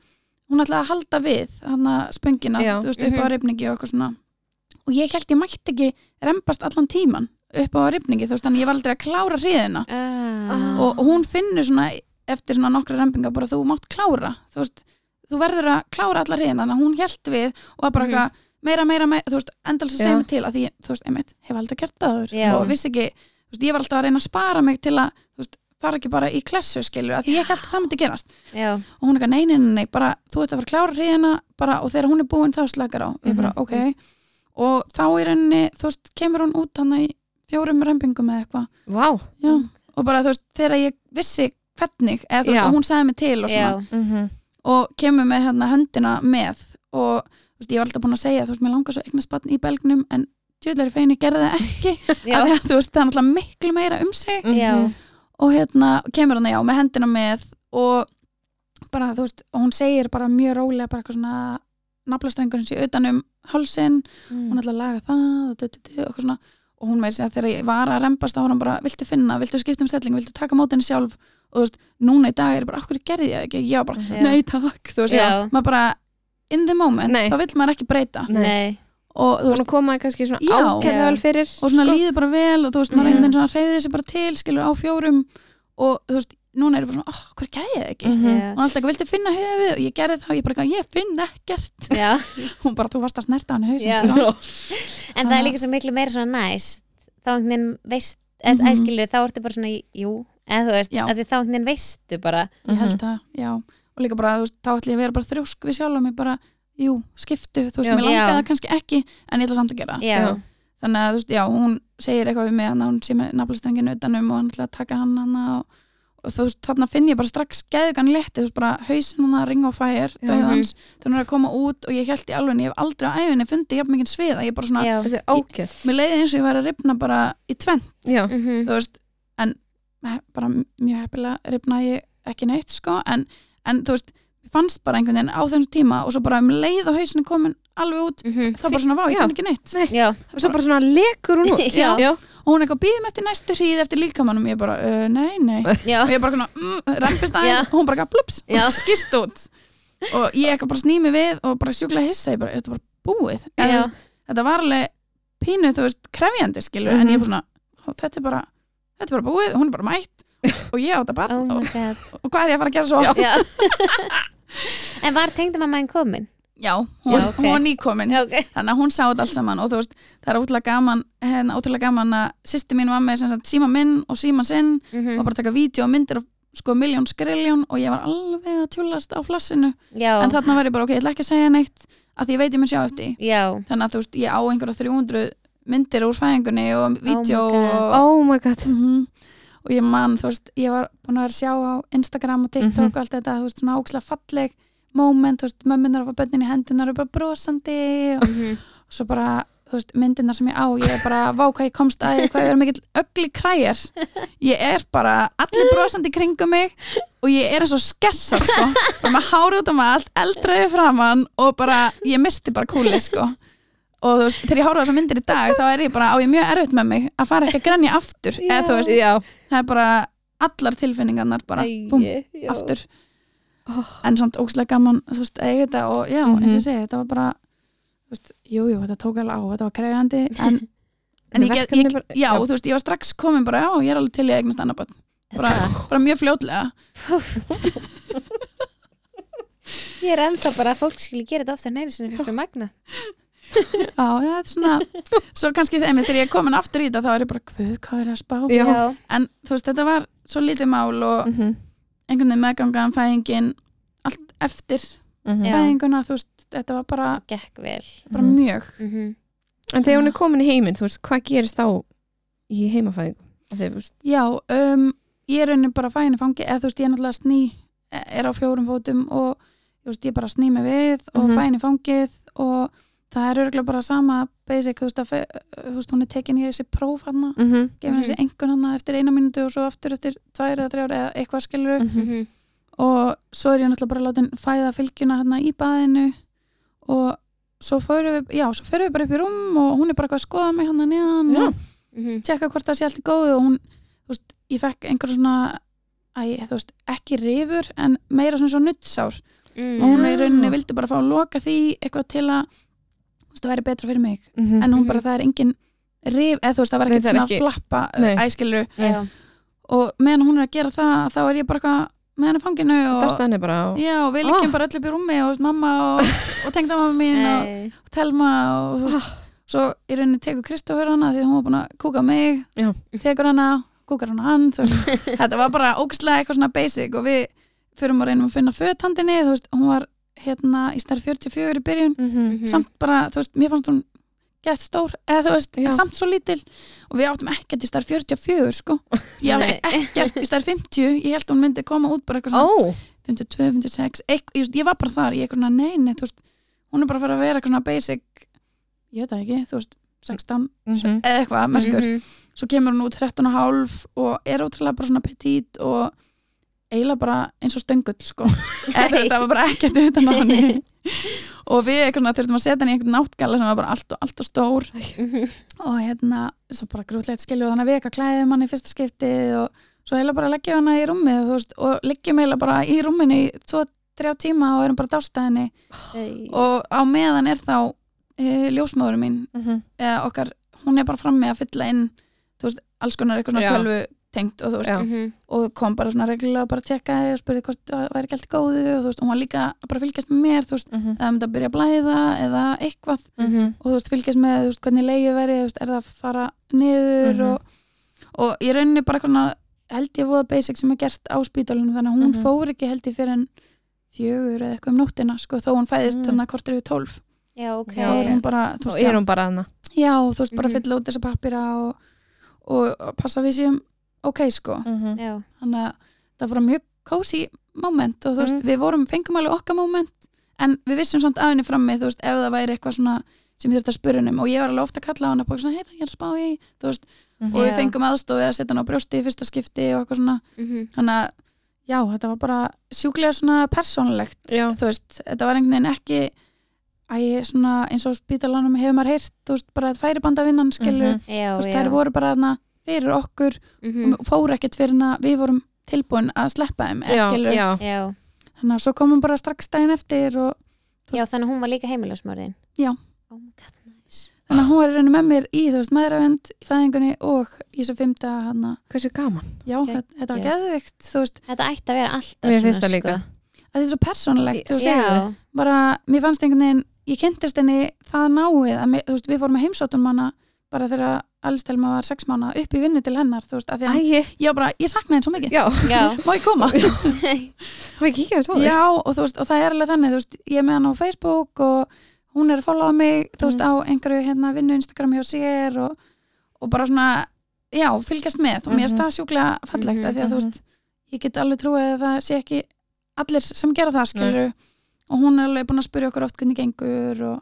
C: hún ætlaði að halda við hann að spöngina,
B: Já,
C: þú veist, upp á
A: mhm.
C: rifningi og eitthvað svona og ég held ég mætti ekki rembast allan tíman upp á rifningi þú veist, þannig ég var aldrei að klára hriðina
A: Ah.
C: og, og hún finnur svona eftir svona nokkra rempinga bara þú mátt klára, þú veist þú verður að klára alla hriðina, þannig að hún held við og það bara
A: Mhm.
C: eitthvað meira, meira, meira þú veist, endalins að
B: Já.
C: segja mig til að því, þú veist, einmitt, hef aldrei gert það áður
A: Já.
C: og vissi ekki, þú veist, ég var alltaf að reyna að spara mig til að, þú veist, fara ekki bara í klessu skilur, að því ég held að það myndi gerast
A: já,
C: og hún eitthvað, nei, nei, nei, nei, bara, þú ert að fara að klára hriðina bara, og þegar hún er búin þá slakar á ég bara,
B: Mhm.
C: ok og þá er henni, þú veist, kemur hún út hann í fjórum rempingum eða eitthvað
B: Vá
C: Já, og bara þú veist, þegar ég vissi hvernig, eða þú veist,
B: Já.
C: og hún sagði mig til og
A: já,
C: svona, og kemur með hérna höndina með og þú veist, ég var alltaf búin að segja, þú veist, mér langar svo eignast batn í belgnum, en djöðlega feginni gerði það ekki,
A: já,
C: að þú veist, það er náttúrulega miklu meira um sig
A: Já.
C: og hérna, kemur hann, já, með hendina með og bara, þú veist, og hún segir bara mjög rólega, bara eitthvað svona naflastrengurinn sé utan um hálsin hún
A: Mm.
C: ætlaði að laga það og, du, du, du, og, eitthvað svona. og hún meiri segja þegar ég var að rembast þá var hún bara, viltu finna, viltu skipta um stellingu viltu taka mótinni sjálf og þú veist, núna í dag er ég bara, okkur gerði ég það ekki ég var bara,
A: Já.
C: nei takk, þú veist
A: Já.
C: maður bara, in the moment,
B: Nei.
C: þá vill maður ekki breyta
B: Nei.
A: nei,
C: og þú
B: Hún
C: veist,
B: komaði kannski svona
C: Já.
B: ákjörlega
A: Já.
B: vel fyrir sko.
C: og svona líður bara vel og þú veist,
A: Sko-
C: maður
A: Já.
C: einhvern veginn svona reyði þessi bara til, skilur á fjórum og þú veist, núna er ég bara svona, oh, okkur gerði ég það ekki
B: Mhm.
A: já,
C: og alltaf ekki, viltu finna höfuð og ég gerði það og ég bara, eitthvað, ég finn ekkert
A: já
C: hún bara, þú varst að snerta hann í
A: Já.
C: hausin sko.
A: en það
C: Ah.
A: er líka svo miklu meira svona næst þá einhvern veginn veist eða
C: Mhm.
A: mm þá ertu bara svona, jú eða þú veist,
C: Já.
A: að því þá einhvern veginn veistu bara
C: ég
A: Mhm.
C: held það, já og líka bara, þú veist, þá ætlum ég að vera bara þrjósk við sjálf og mér bara, jú, skiptu þú veist,
B: Já.
C: mér langaði
A: Já.
C: það kannski ekki en ég ætla samt að gera það
A: já,
B: Já.
C: þannig að, þú veist, já, hún segir eitthvað við mig hann að hún sé með naflastrengin utanum og hann ætla að taka hann hann og, og þú veist, þarna finn ég bara strax geðugan létti, þú veist, bara hausinn hann að ring og fæir,
B: Já.
C: döðans
A: Mhm.
C: þegar hún er að koma út og ég held í alveg, ég hef aldrei á æfinni fundið jafn mikið sviða, ég bara svona,
A: já,
B: Þetta er ákjör
C: mér leiði eins og ég væri að rifna bara í tvennt,
B: Já,
A: mhm,
C: þú veist, en he- bara mjög heppilega rifna ég ekki neitt sko, en, en þú veist ég fannst bara einhvern veginn á þessum tíma og svo bara um leið og hausinu komin alveg út
A: mhm,
C: þá bara svona, vá, ég
B: Já.
C: finn ekki neitt
A: já,
B: og svo bara svona lekur hún út
A: Já.
B: Já.
C: og hún eitthvað býðum eftir næstu hríð eftir líkamannum ég bara, uh, nei, nei
A: já
C: og ég bara svona, mm, rempist aðeins
A: Já.
C: og hún bara gaf blups
A: Já.
C: og skist út og ég eitthvað bara snými við og bara sjúklega hissa ég bara, er þetta bara búið En þú
A: já,
C: veist, þetta var alveg pínu, þú veist, krefjandi skilur, en
A: Mhm.
C: ég er bara svona, "Ó, þetta er bara þetta er bara búið, hún er bara mætt og ég átt að batna
A: oh
C: og,
A: my god
C: og hvað er ég að fara að gera svo?
A: já en var tengdamamman komin?
C: Já, hún,
A: Já, ok.
C: hún var nýkomin
A: já, ok
C: þannig að hún sá þetta allt saman og þú veist, það er ótrúlega gaman hérna, ótrúlega gaman að sýsti mín var með sem sagt, síma minn og síma sinn
A: Mhm.
C: og bara taka vídeo og myndir og sko miljón skriljón og ég var alveg að tjúlast á flassinu
A: já,
C: en þarna var ég bara, ok, ég ætla ekki að segja neitt að því ég veit ég mun sjá eftir því.
A: já,
C: þannig að þú veist, ég á einhverja 300 myndir úr fæðingunni og vídeo
A: Oh God.
C: og
B: Oh my god
C: -hmm. og ég man, þú veist, ég var búin að vera að sjá á Instagram og TikTok
B: Mhm.
C: og allt þetta, þú veist, svona ókslega falleg moment, þú veist, mömmunar og bönnin í hendunar og bara brosandi og
A: mhm,
C: svo bara, þú veist, myndinar sem ég á ég er bara, vá hvað ég komst að því, hvað ég er mikill ögli kræjar, ég er bara allir brosandi í kringum mig og ég er eins og skessa, sko bara með hári út um allt, eldraði framann og bara, ég misti bara kúli, sko og þú veist, þegar ég hára þessar myndir í dag þá er ég bara, á ég mjög erfitt með mig að fara ekki að grenja aftur, eða þú veist
B: Já,
C: það er bara allar tilfinningarnar bara
A: Æi,
C: búm,
A: já.
C: aftur
B: Oh.
C: en samt ókslega gaman þú veist, að eiga þetta og já,
B: Mhm.
C: eins og ég segi þetta var bara, þú veist, jú, jú, þetta tók alveg á þetta var krefjandi, en en ég, get-
B: Verkefni
C: ég,
B: bara-
C: já,
B: já.
C: þú veist, ég var strax komin bara, já, ég er alveg til í að eignast annað barn bara, bara mjög fljótlega
A: Ég er ennþá bara að fólk skilji gera þetta ofta en einu sinni fyrir magna.
C: já, þetta er svona svo kannski þeim, þegar ég er komin aftur í þetta þá er ég bara, hvað, hvað er ég að spá
B: Já.
C: en þú veist, þetta var svo lítið mál og
B: Mhm,
C: einhvern veginn meðgangan, fæðingin allt eftir
B: mhm.
A: Já.
C: fæðinguna, þú veist, þetta var bara,
A: gekk vel.
C: bara
B: Mhm.
C: mjög
A: Mm
B: En þegar hún er komin í heiminn, þú veist, hvað gerist þá í heimafæðingum? Af því, þú veist,
C: já, um, ég er raunin bara fæðin í fangi, eða þú veist, ég er náttúrulega sný e, er á fjórum fótum og þú veist, ég bara sný mig við og mm
B: Mhm.
C: fæðin í fangið og það er örgulega bara sama basic, þú veist, að, fe- þú veist hún er tekin í þessi próf hana,
B: mhm,
C: gefin þessi
A: Mhm.
C: engun hana eftir eina mínútu og svo aftur eftir tvær eða þrjár eða eitthvað skilur
B: mhm,
A: -hmm.
C: og svo er ég náttúrulega bara látin fæða fylgjuna hérna í baðinu og svo förum við, já, svo förum við bara upp í rúm og hún er bara eitthvað að skoða mig hérna neðan
B: Já.
C: og
A: Mhm.
C: tjekka hvort það sé allt í góðu og hún, þú veist, ég fekk einhverja svona æ, þú veist, ekki rifur en meira svona svo nuttsár
A: Mm.
C: og hún er í
B: Já.
C: rauninni vildi bara fá að loka því eitthvað til að, þú veist, það væri betra fyrir mig
B: mhm.
C: en hún
A: Mhm.
C: bara, það er engin rif, eða þú veist, það var
B: Nei,
C: ekkert
B: það er
C: svona
B: ekki-
C: flappa,
B: Nei.
C: æskilur
A: Já.
C: og meðan hún er að gera það, þá er ég bara eitthvað með henni í fanginu og
B: Dastu henni bara á...
C: Já, og við liggjum
B: Ah.
C: bara öll upp í rúmi og mamma og, og tengdamamma mín og,
A: Nei.
C: og Telma og þú
B: Ah.
C: veist, svo í rauninni tekur Kristófur hana því að hún var búin að kúka á mig
B: Já.
C: tekur hana, kúkar hana á hann þú veist, þetta var bara ógæslega eitthvað svona basic og við fyrum að reynum að finna fötandinni, þú veist, hún var hérna í stær 44 í byrjun
B: Mhm,
A: Mhm.
C: samt bara, þú veist, mér fannst hún gett stór, eða þú veist,
B: Já.
C: en samt svo lítil og við áttum ekkert í stær 44 sko, ég átti ekkert í stær 50, ég held hún myndi koma út bara eitthvað svona
B: Ó,
C: 52, 56, eitth, ég, veist, ég var bara þar ég eitthvað svona, nei, nei, þú veist hún er bara að fara að vera eitthvað svona basic ég veit það ekki, þú veist, 16
B: mhm,
C: eða eitthvað, merkur,
A: Mhm.
C: svo kemur hún út 13 og hálf og er ótrúlega bara svona petit og eiginlega bara eins og stöngull, sko eða þú veist, það var bara ekkert utan á henni og við eitthvað svona þurftum að setja henni í einhvern náttgala sem var bara allt og, allt og stór
A: Mhm.
C: og hérna, svo bara grútlegt skilju þannig að veka klæðum hann í fyrsta skipti og svo heila bara leggjum hana í rúmið þú veist, og leggjum heila bara í rúminu í 2-3 tíma og erum bara dástæðinni
A: Nei.
C: og á meðan er þá e, ljósmaður mín
B: mhm.
C: eða okkar, hún er bara frammi að fylla inn þú veist, alls konar eitthvað svona
B: Já.
C: tölvu tengt og þú veist,
B: Já.
A: Mhm.
C: og kom bara svona reglulega bara að tjekka og spurði hvort það væri gælt góðu og þú veist, hún var líka að bara fylgjast með mér þú veist,
B: Mhm,
C: eða myndi að byrja að blæða eða eitthvað
B: mhm.
C: og þú veist, fylgjast með þú veist, hvernig leiði verið, þú veist, er það að fara niður
B: Mhm.
C: og, og ég rauninni bara svona, held ég voða basic sem er gert á spítalunum, þannig að hún
B: Mhm.
C: fór ekki held ég fyrir en fjögur eða eitthvað um nóttina, sko, þó hún fæðist
B: Mm.
C: þannig að kortir við tólf,
A: Já, ok.
C: þá er hún bara þú
B: Þá
C: veist,
B: er hún bara hana.
C: já, já, þú veist, bara
A: Mhm.
C: fylla út þessa pappira og, og, og passa að við séum ok, sko,
B: Mhm,
A: Já.
C: þannig að það var mjög cozy moment og þú veist,
B: Mhm.
C: við vorum, fengum alveg okkar moment en við vissum samt aðinni frammi, þú veist, ef það væri eitthvað svona sem ég þurfti að spura hennum og ég var alveg ofta að kalla á hana bara svona, heyra, ég er að spá í, þú veist og
B: mhm.
C: við
A: Já.
C: fengum aðstofið að setja hana á brjósti í fyrsta skipti og eitthvað svona,
A: Mhm.
C: þannig að já, þetta var bara sjúklega svona persónlegt,
B: Já.
C: þú veist, þetta var einhvern veginn ekki að ég svona eins og á spítalanum hefur maður heyrt, þú veist, bara færibandavinnan skilur,
B: Mhm,
A: Já,
C: þú veist,
A: já.
C: þær voru bara þarna fyrir okkur
A: Mhm.
C: mm. fóru ekkert fyrir hana, við vorum tilbúin að sleppa þeim, eða
B: Já,
C: skilur
B: já.
A: Já.
C: þannig að svo komum bara strax daginn eftir og
A: já, þannig að hún var líka heimilagsmörðin.
C: Já.
A: Oh my god, nice.
C: þannig að hún var í rauninni með mér í þú veist maðuravend í fæðingunni og í þessu fymta hana,
B: Hversu gaman.
C: já,
A: Geggjað.
C: þetta þetta var geðvikt þú veist,
A: Þetta ætti að vera alltaf sko.
B: Mér finnst það líka.
C: að þetta er svo persónulegt þú veist,
A: Já.
C: bara, mér fannst einhvern veginn ég kynntist henni það náið að mér, þú veist, við fórum að heimsóttum hana bara þegar Alistelma var sex mánu upp í vinnu til hennar, þú veist, að því að
B: Æi.
C: ég, var bara, ég sakna henni svo mikið,
B: Já,
A: Já.
C: má ég koma
B: hann ekki ekki að það.
C: Já, og, þú veist, og það er alveg þannig, þú veist, ég er með hann á Facebook og hún er að followa mig, þú
B: Mhm.
C: veist, á einhverju hérna vinnu Instagram hjá sér og, og bara svona, já, fylgjast með og mér er
B: Mhm.
C: það sjúklega fallegt
A: Mhm,
C: af því að þú
B: mhm.
C: veist, ég get alveg trúið að það sé ekki allir sem gera það, skilur og hún er alveg búin að spyrja okkur oft hvernig gengur og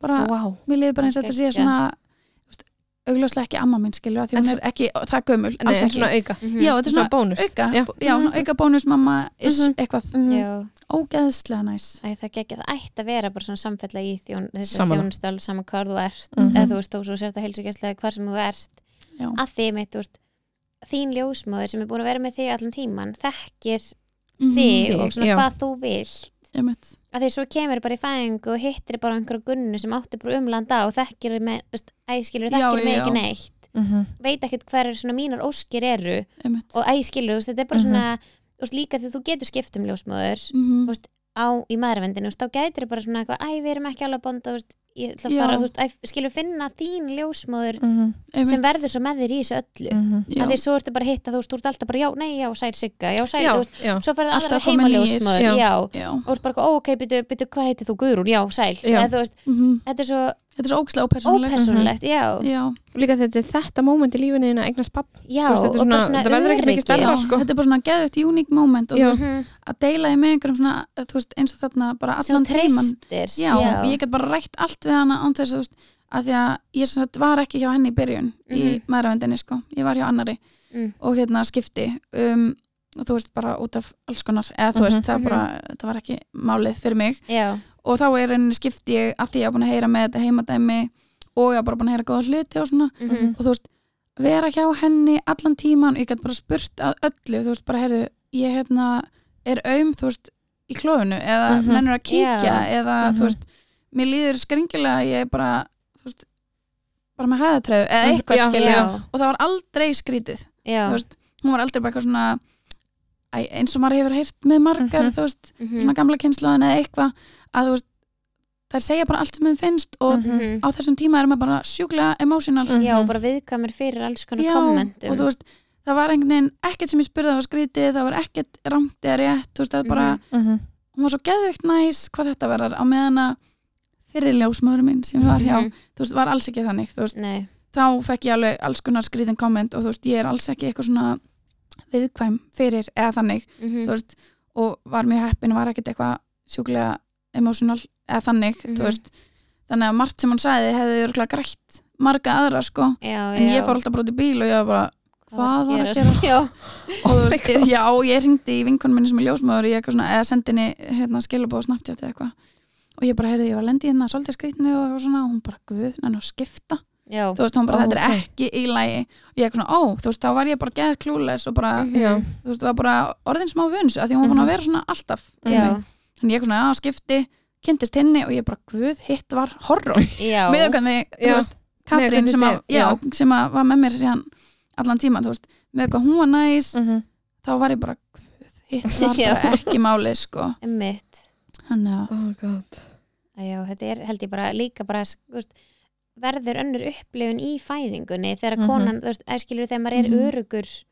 C: bara,
B: Vá.
C: mér liður bara eins og þetta sé
A: Geggjað.
C: svona, þú veist, augljóslega ekki amma mín, skilur, af því
B: En
C: hún
B: svo-
C: er ekki það gömul,
B: Nei,
C: alls ekki.
B: svona auka.
A: Mhm.
C: já, þetta er
B: Svona
C: svona
B: bónus.
C: auka,
B: Já.
C: já, svona auka bónus mamma is
B: Mhm.
C: eitthvað
B: Mhm.
A: Já.
C: ógeðslega næs
A: Æ, það gekkja, það ætti að vera bara svona samfella í þjón, þessi
B: Sammála.
A: þjónustölu saman hvar þú ert,
B: Mhm.
A: eða þú veist þó svo sért að heilsugjastlega hvar sem þú ert
C: Já.
A: að því mitt, þú veist þín ljósmóður sem er búin að vera með þig allan tíman þekkir
C: Mhm.
A: þig
B: Þig,
A: og svona
B: já.
A: hvað þú vilt
C: einmitt.
A: að því svo kemur bara í fæðing og hittir bara einhverja gunnu sem átti bara umlanda og þekkir með, þú veist, æskilur
C: Já,
A: þekkir
C: já,
A: mig
C: já.
A: ekki neitt
B: Mhm.
A: veit ekkert hver svona mínar óskir eru
C: einmitt.
A: og æskilur, þetta er bara
B: Mhm.
A: svona þú veist, líka því þú getur skipt um ljósmóður
C: Mhm.
A: þú veist, á í maðurvendinu, þú veist, þá gætir bara svona eitthvað, æ, við erum ekki alveg að bonda, þú veist, ég ætla að
C: Já.
A: fara, þú veist, æ, skilur finna þín ljósmóður
B: Mhm.
C: Einmitt.
A: sem verður svo með þér í þessu öllu,
C: Já.
A: af því svo ertu bara að hitta, þú veist, þú ert alltaf bara, já, nei, já, sæl sigga, já, sæl,
B: Já,
A: þú veist,
B: já.
A: svo ferðu
C: Alltaf
A: alltaf
C: koma
A: heima
C: nýir.
A: ljósmóður,
B: Já.
A: já,
C: Já.
A: og þú bara, eitthvað, ó, ok, byttu, byttu, hvað heitir þú, Guðrún, já, sæl,
B: Já.
A: eða þú veist,
C: Mhm.
A: þetta er svo
C: Þetta er svo ógæslega ópersónulegt
A: ópersónulegt, já,
C: Já.
B: Og líka þetta er þetta moment í lífinu þín að eignast papp
A: já,
B: Þú veist, þetta er
A: og bara
B: svona- þetta verður ekki mikið
A: öryggi.
B: stærra.
C: Já,
B: sko.
C: þetta er bara svona geðvægt unique moment og
B: Já.
C: þú veist,
A: Mhm.
C: að deila því með einhverjum svona, eh, þú veist, eins og þarna bara
A: sem
C: allan
A: hún
C: tíman
A: treystir
C: já, og ég get bara rætt allt við hana án þess að, þú veist, að því að ég sem sagt var ekki hjá henni í byrjun í
A: Mhm.
C: maðuravendinni, sko, ég var hjá annari
A: Mm.
C: og hérna skipti um, og þú veist, bara út af alls konar eða þú
B: Mhm.
C: veist, það,
A: Mhm.
C: bara, það var ekki málið fyrir mig
A: já,
C: og þá er henni skipti ég að því ég var búin að heyra með þetta heimadæmi og ég var bara búin að heyra góða hluti og svona
A: mhm,
C: og þú veist, vera hjá henni allan tíman, ég gæti bara spurt að öllu, þú veist, bara heyrðu, ég hérna er aum, þú veist, í klófinu eða mm
B: Mhm.
C: mennur að kíkja
A: Já.
C: eða, þú
B: Mhm.
C: veist, mér líður skringilega ég er bara, þú veist bara með hæðatræðu eða
B: Mhm.
C: eitthvað
B: Já,
C: skilja
A: já,
C: og það var aldrei skrítið,
A: já,
C: þú veist hún var aldrei bara eitthvað svona æ, eins og maður hefur heyrt með margar,
B: Mhm.
C: þú veist
A: mhm,
C: svona gamla kynnslóðin eða eitthvað að þú veist, þær segja bara allt sem þeim finnst og
A: mhm.
C: á þessum tíma er maður bara sjúklega emotional
B: Mhm.
A: já, og bara viðkamir fyrir alls konar um
C: Mhm. Já,
A: kommentum
C: og þú veist, það var einhvern veginn ekkert sem ég spurði að var skrítið, það var ekkert rangt eða rétt, þú veist, það bara
A: Mhm.
B: Mhm.
C: hún var svo geðveikt næs hvað þetta verðar á meðan að fyrir ljósmaður minn sem var hjá,
A: Mhm.
C: þú veist, var alls ekki þannig þú veist,
A: Nei,
C: þá fekk ég alveg alls konar skrítin komment og þú veist, ég er alls ekki eitthvað svona viðkvæm fyrir eða þannig,
A: mhm,
C: þú veist og var mjög heppin, var ekkert eitthvað sjúklega emotional eða þannig,
A: Mhm.
C: þú veist þannig að margt sem hún sagði hefði örgulega grætt marga aðra sko,
A: já,
C: en
A: já.
C: ég fór alltaf bara út í bíl og ég var bara, hvað var að gera
A: Já, Oh
C: og þú veist, já, ég ringdi í vinkonum minni sem er ljósmaður í eitthvað svona, eða sendi henni hérna skilabóð og snapchat eða eitthvað og ég bara heyrði, ég var að lendi hérna svolítið skrýtni og eitthvað svona, og hún bara, guð, nenni að skipta
A: já,
C: þú veist, hún bara,
B: Ó,
A: Oh
C: þetta er
B: ókei.
C: ekki í lagi og ég eitthvað svona, ó, þú veist, þá var ég bara geð klúles og bara,
A: Mhm.
B: Já.
C: þú veist, var bara orðin smá vunns, að því hún var búin að vera svona alltaf við
A: já,
C: mig. þannig ég eitthvað svona, já, skipti kynntist henni og ég bara, guð, hitt var horror,
A: já,
C: með hvernig, þú
B: Já.
C: veist, Katrín
B: Miðað
C: sem, að,
B: hvernig þetta
C: já,
B: er,
C: sem að var með mér síðan allan tíman, þú veist, með eitthvað hún var næs
B: Mhm.
C: þá var ég bara "Guð, hitt var
A: Já.
C: bara ekki málið sko
A: mitt
C: þannig að
B: Oh god.
A: Já, þetta er held ég bara líka bara þú veist, verður önnur upplifun í fæðingunni þegar
B: Mhm.
A: konan, þú veist, æskilur þegar maður er
C: Mhm.
A: örugur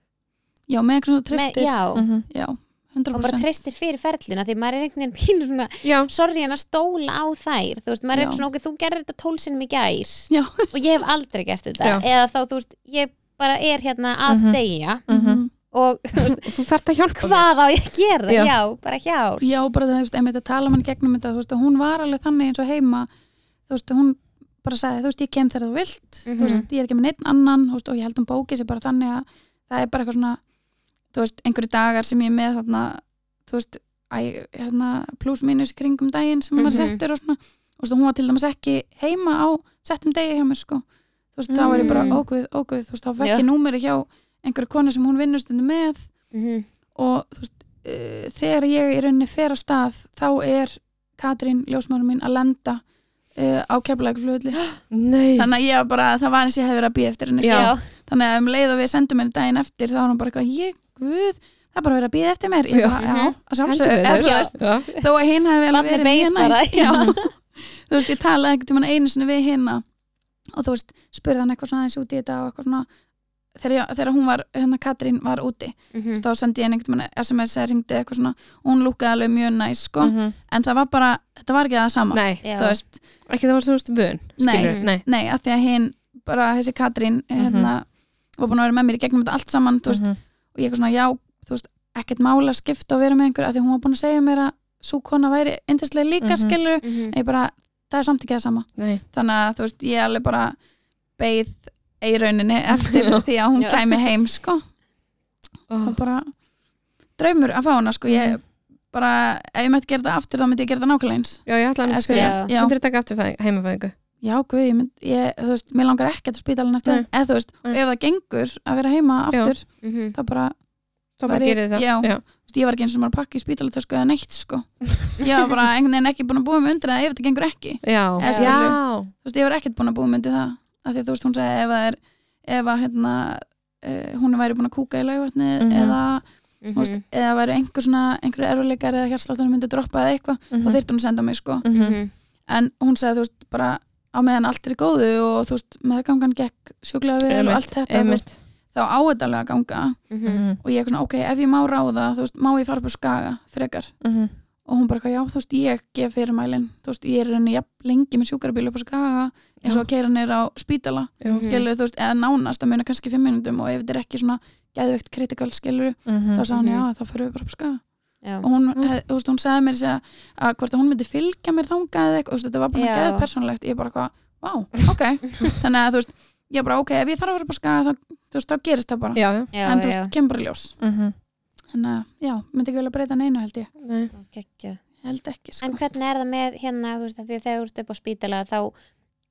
C: já, með einhvern veginn
A: með,
C: þú tristir
A: já,
B: Mhm.
C: já,
A: og bara
C: 100%
A: tristir fyrir ferlina því maður er einhvern veginn pínur svona
B: Já.
A: sorgi hann að stóla á þær þú veist, maður er
C: Já.
A: svona, ok, þú gerir þetta tólsinum í gær
C: Já.
A: og ég hef aldrei gert þetta
B: Já.
A: eða þá, þú veist, ég bara er hérna að
B: Mhm.
A: deyja
B: Mhm.
A: og þú veist,
B: Þú þarft að hjálpa mér.
A: hvað á ég að gera já,
B: Já.
A: bara hjálp
C: já, bara þú veist, einmitt að tala mann gegnum þetta þú veist, og hún var alveg þannig eins og heima þú veist, hún bara sagði, þú veist, ég kem þegar þú vilt
A: Mhm.
C: þú veist, ég er ekki með neitt annan þú veist, og ég held um bóki sér bara þannig að það er bara eitthvað svona, þú veist, einhverju dagar sem ég er með þarna, þú veist æ, hérna, plus mínus í kringum daginn sem maður
A: Mhm.
C: settur og svona og þú veist, hún var til dæmis ekki heima á settum degi hjá mér, sko þú veist, þá var ég bara
A: Mm.
C: óguð, óguð, þú veist, þá fekk
A: Já.
C: ég númeri hjá einhverju konu sem hún vinnur stundu með
A: Mhm.
C: og þú veist, uh, þegar ég í rauninni fer á stað, þá er Katrín, ljósmaður mín, að lenda uh, á keflækflöðli
B: Nei.
C: þannig að ég var bara, það var eins og ég hefði verið að býja eftir henni sko.
A: já,
C: þannig að um leið og við sendum henni daginn eftir þá var hún bara eitthvað, ég, guð það er bara verið að býja eftir mér
B: Já.
C: ég, bara, já,
A: Mhm.
C: að
B: Heldur
C: sjálfsögðu,
B: betur. Já.
C: eða, þú veist, þó að hinn hefði vel
A: Barnið
C: verið
A: beið
C: mjög
A: bara.
C: næs já. þú veist, ég talaði einhvern tímann einu sinni við hinna og þú veist, spurði hann eitthvað svona aðeins út í þetta og eitthvað svona þegar, ég, þegar hún var, hérna Katrín var úti
A: Mhm.
C: þá sendi ég henni einhvern tímann SMS eða ringdi eitthvað svona, og hún lúkaði alveg mjög næs sko,
B: Mhm.
C: en það var bara, þetta var ekki það sama
B: Nei.
A: já
C: þú veist,
B: Ekki það var svo veist vön.
C: Nei.
B: skilurðu. Nei.
C: Nei, að því að hinn, bara þessi Katrín hérna, var búin að vera með mér í gegnum þetta allt saman, þú veist,
B: Mhm.
C: og ég eitthvað svona, já þú veist, ekkert mála skipta og vera með einhver að því hún var búin að segja mér að svo kona væri yndislega líka mm
B: Mhm.
A: Mhm.
C: en ég bara, það er samt ekki það sama
B: Nei.
C: þannig að þú veist, ég alveg bara beið í rauninni eftir því að hún
A: Já.
C: kæmi heim, sko
B: Oh.
C: og bara draumur að fá hana, sko,
B: Mm.
C: ég bara, ef ég mætti gera það aftur, þá myndi ég gera það nákvæmlega eins
B: Já, ég ætla að
C: Eða,
B: mynda
C: skilur,
B: skilja.
A: Já.
C: já.
B: Myndir þetta ekki aftur fæðing- heimafæðingu?
C: já, guð, ég mynd, ég, þú veist, mér langar ekkert á spítalinn eftir,
B: Nei.
C: eða þú veist,
B: Nei.
C: ef það gengur að vera heima aftur,
A: Mhm.
C: þá bara
B: þá bara
C: Væri-
B: gerir þið það
C: já.
B: Já.
C: Þú veist, ég var ekki eins og maður að pakka í spítalatösku eða neitt sko ég var bara einhvern veginn ekki búin að búa mig undir það ef þetta gengur ekki
B: Já.
C: Eða
B: Já.
C: skilurðu. þú veist, ég var ekkert búin að búa mig undir það af því að þú veist, hún segi ef, það er, ef að hérna eh, hún væri búin að kúka í laugatni
B: Mhm.
C: eða,
A: mm
C: þú veist, eða væri einhver svona einhver erfuleikar eða hjarsláttunum myndi droppa eða eitthvað
B: Mhm.
C: þá þyrfti hún að senda mig sko
B: Mhm.
C: en hún segi þú veist bara á meðan allt er í góðu og þú veist meðgangan gekk sjúklega vel og
B: Einmitt,
C: allt þetta þú veist,
B: Einmitt.
C: þá á þetta alveg að ganga
B: Mhm.
C: og ég er svona ok, ef ég má ráða þú veist, má ég fara upp á skaga frekar
B: Mhm.
C: og hún bara, eitthvað, já, þú veist, ég gef fyrir mælin þú veist, ég er henni jafn lengi með sjúkrabíl upp á skaga eins og að keira nýra á spítala
B: Jú.
A: Mhm.
C: skilur, þú veist, eða nánast að muna kannski fimm minútum og ef þetta er ekki svona geðveikt kritikal skilur,
B: Mhm.
C: þá sagði hún,
A: Mhm.
C: já, þá fyrir við bara upp á skaga
A: já,
C: og hún,
B: Mm.
C: hef, þú veist, hún sagði mér segja, að hvort að hún myndi fylgja mér þangað eða eitthvað, þú veist, þetta var bara
A: Já.
C: geð persónulegt ég bara hvað, vá, ok þannig að, þú veist, ég bara, ok, ef ég þarf að vera upp á skaga þá, þú veist, þá gerist það bara
B: Já, já.
A: já,
C: en þú
A: já,
C: veist, kemur bara í ljós
B: Mhm.
C: þannig að, já, myndi ekki vilja breyta neinu held ég
B: Nei.
A: geggjað.
C: held ekki, sko
A: En hvernig er það með hérna, þú veist, af því að þegar þú ert upp á spítala þá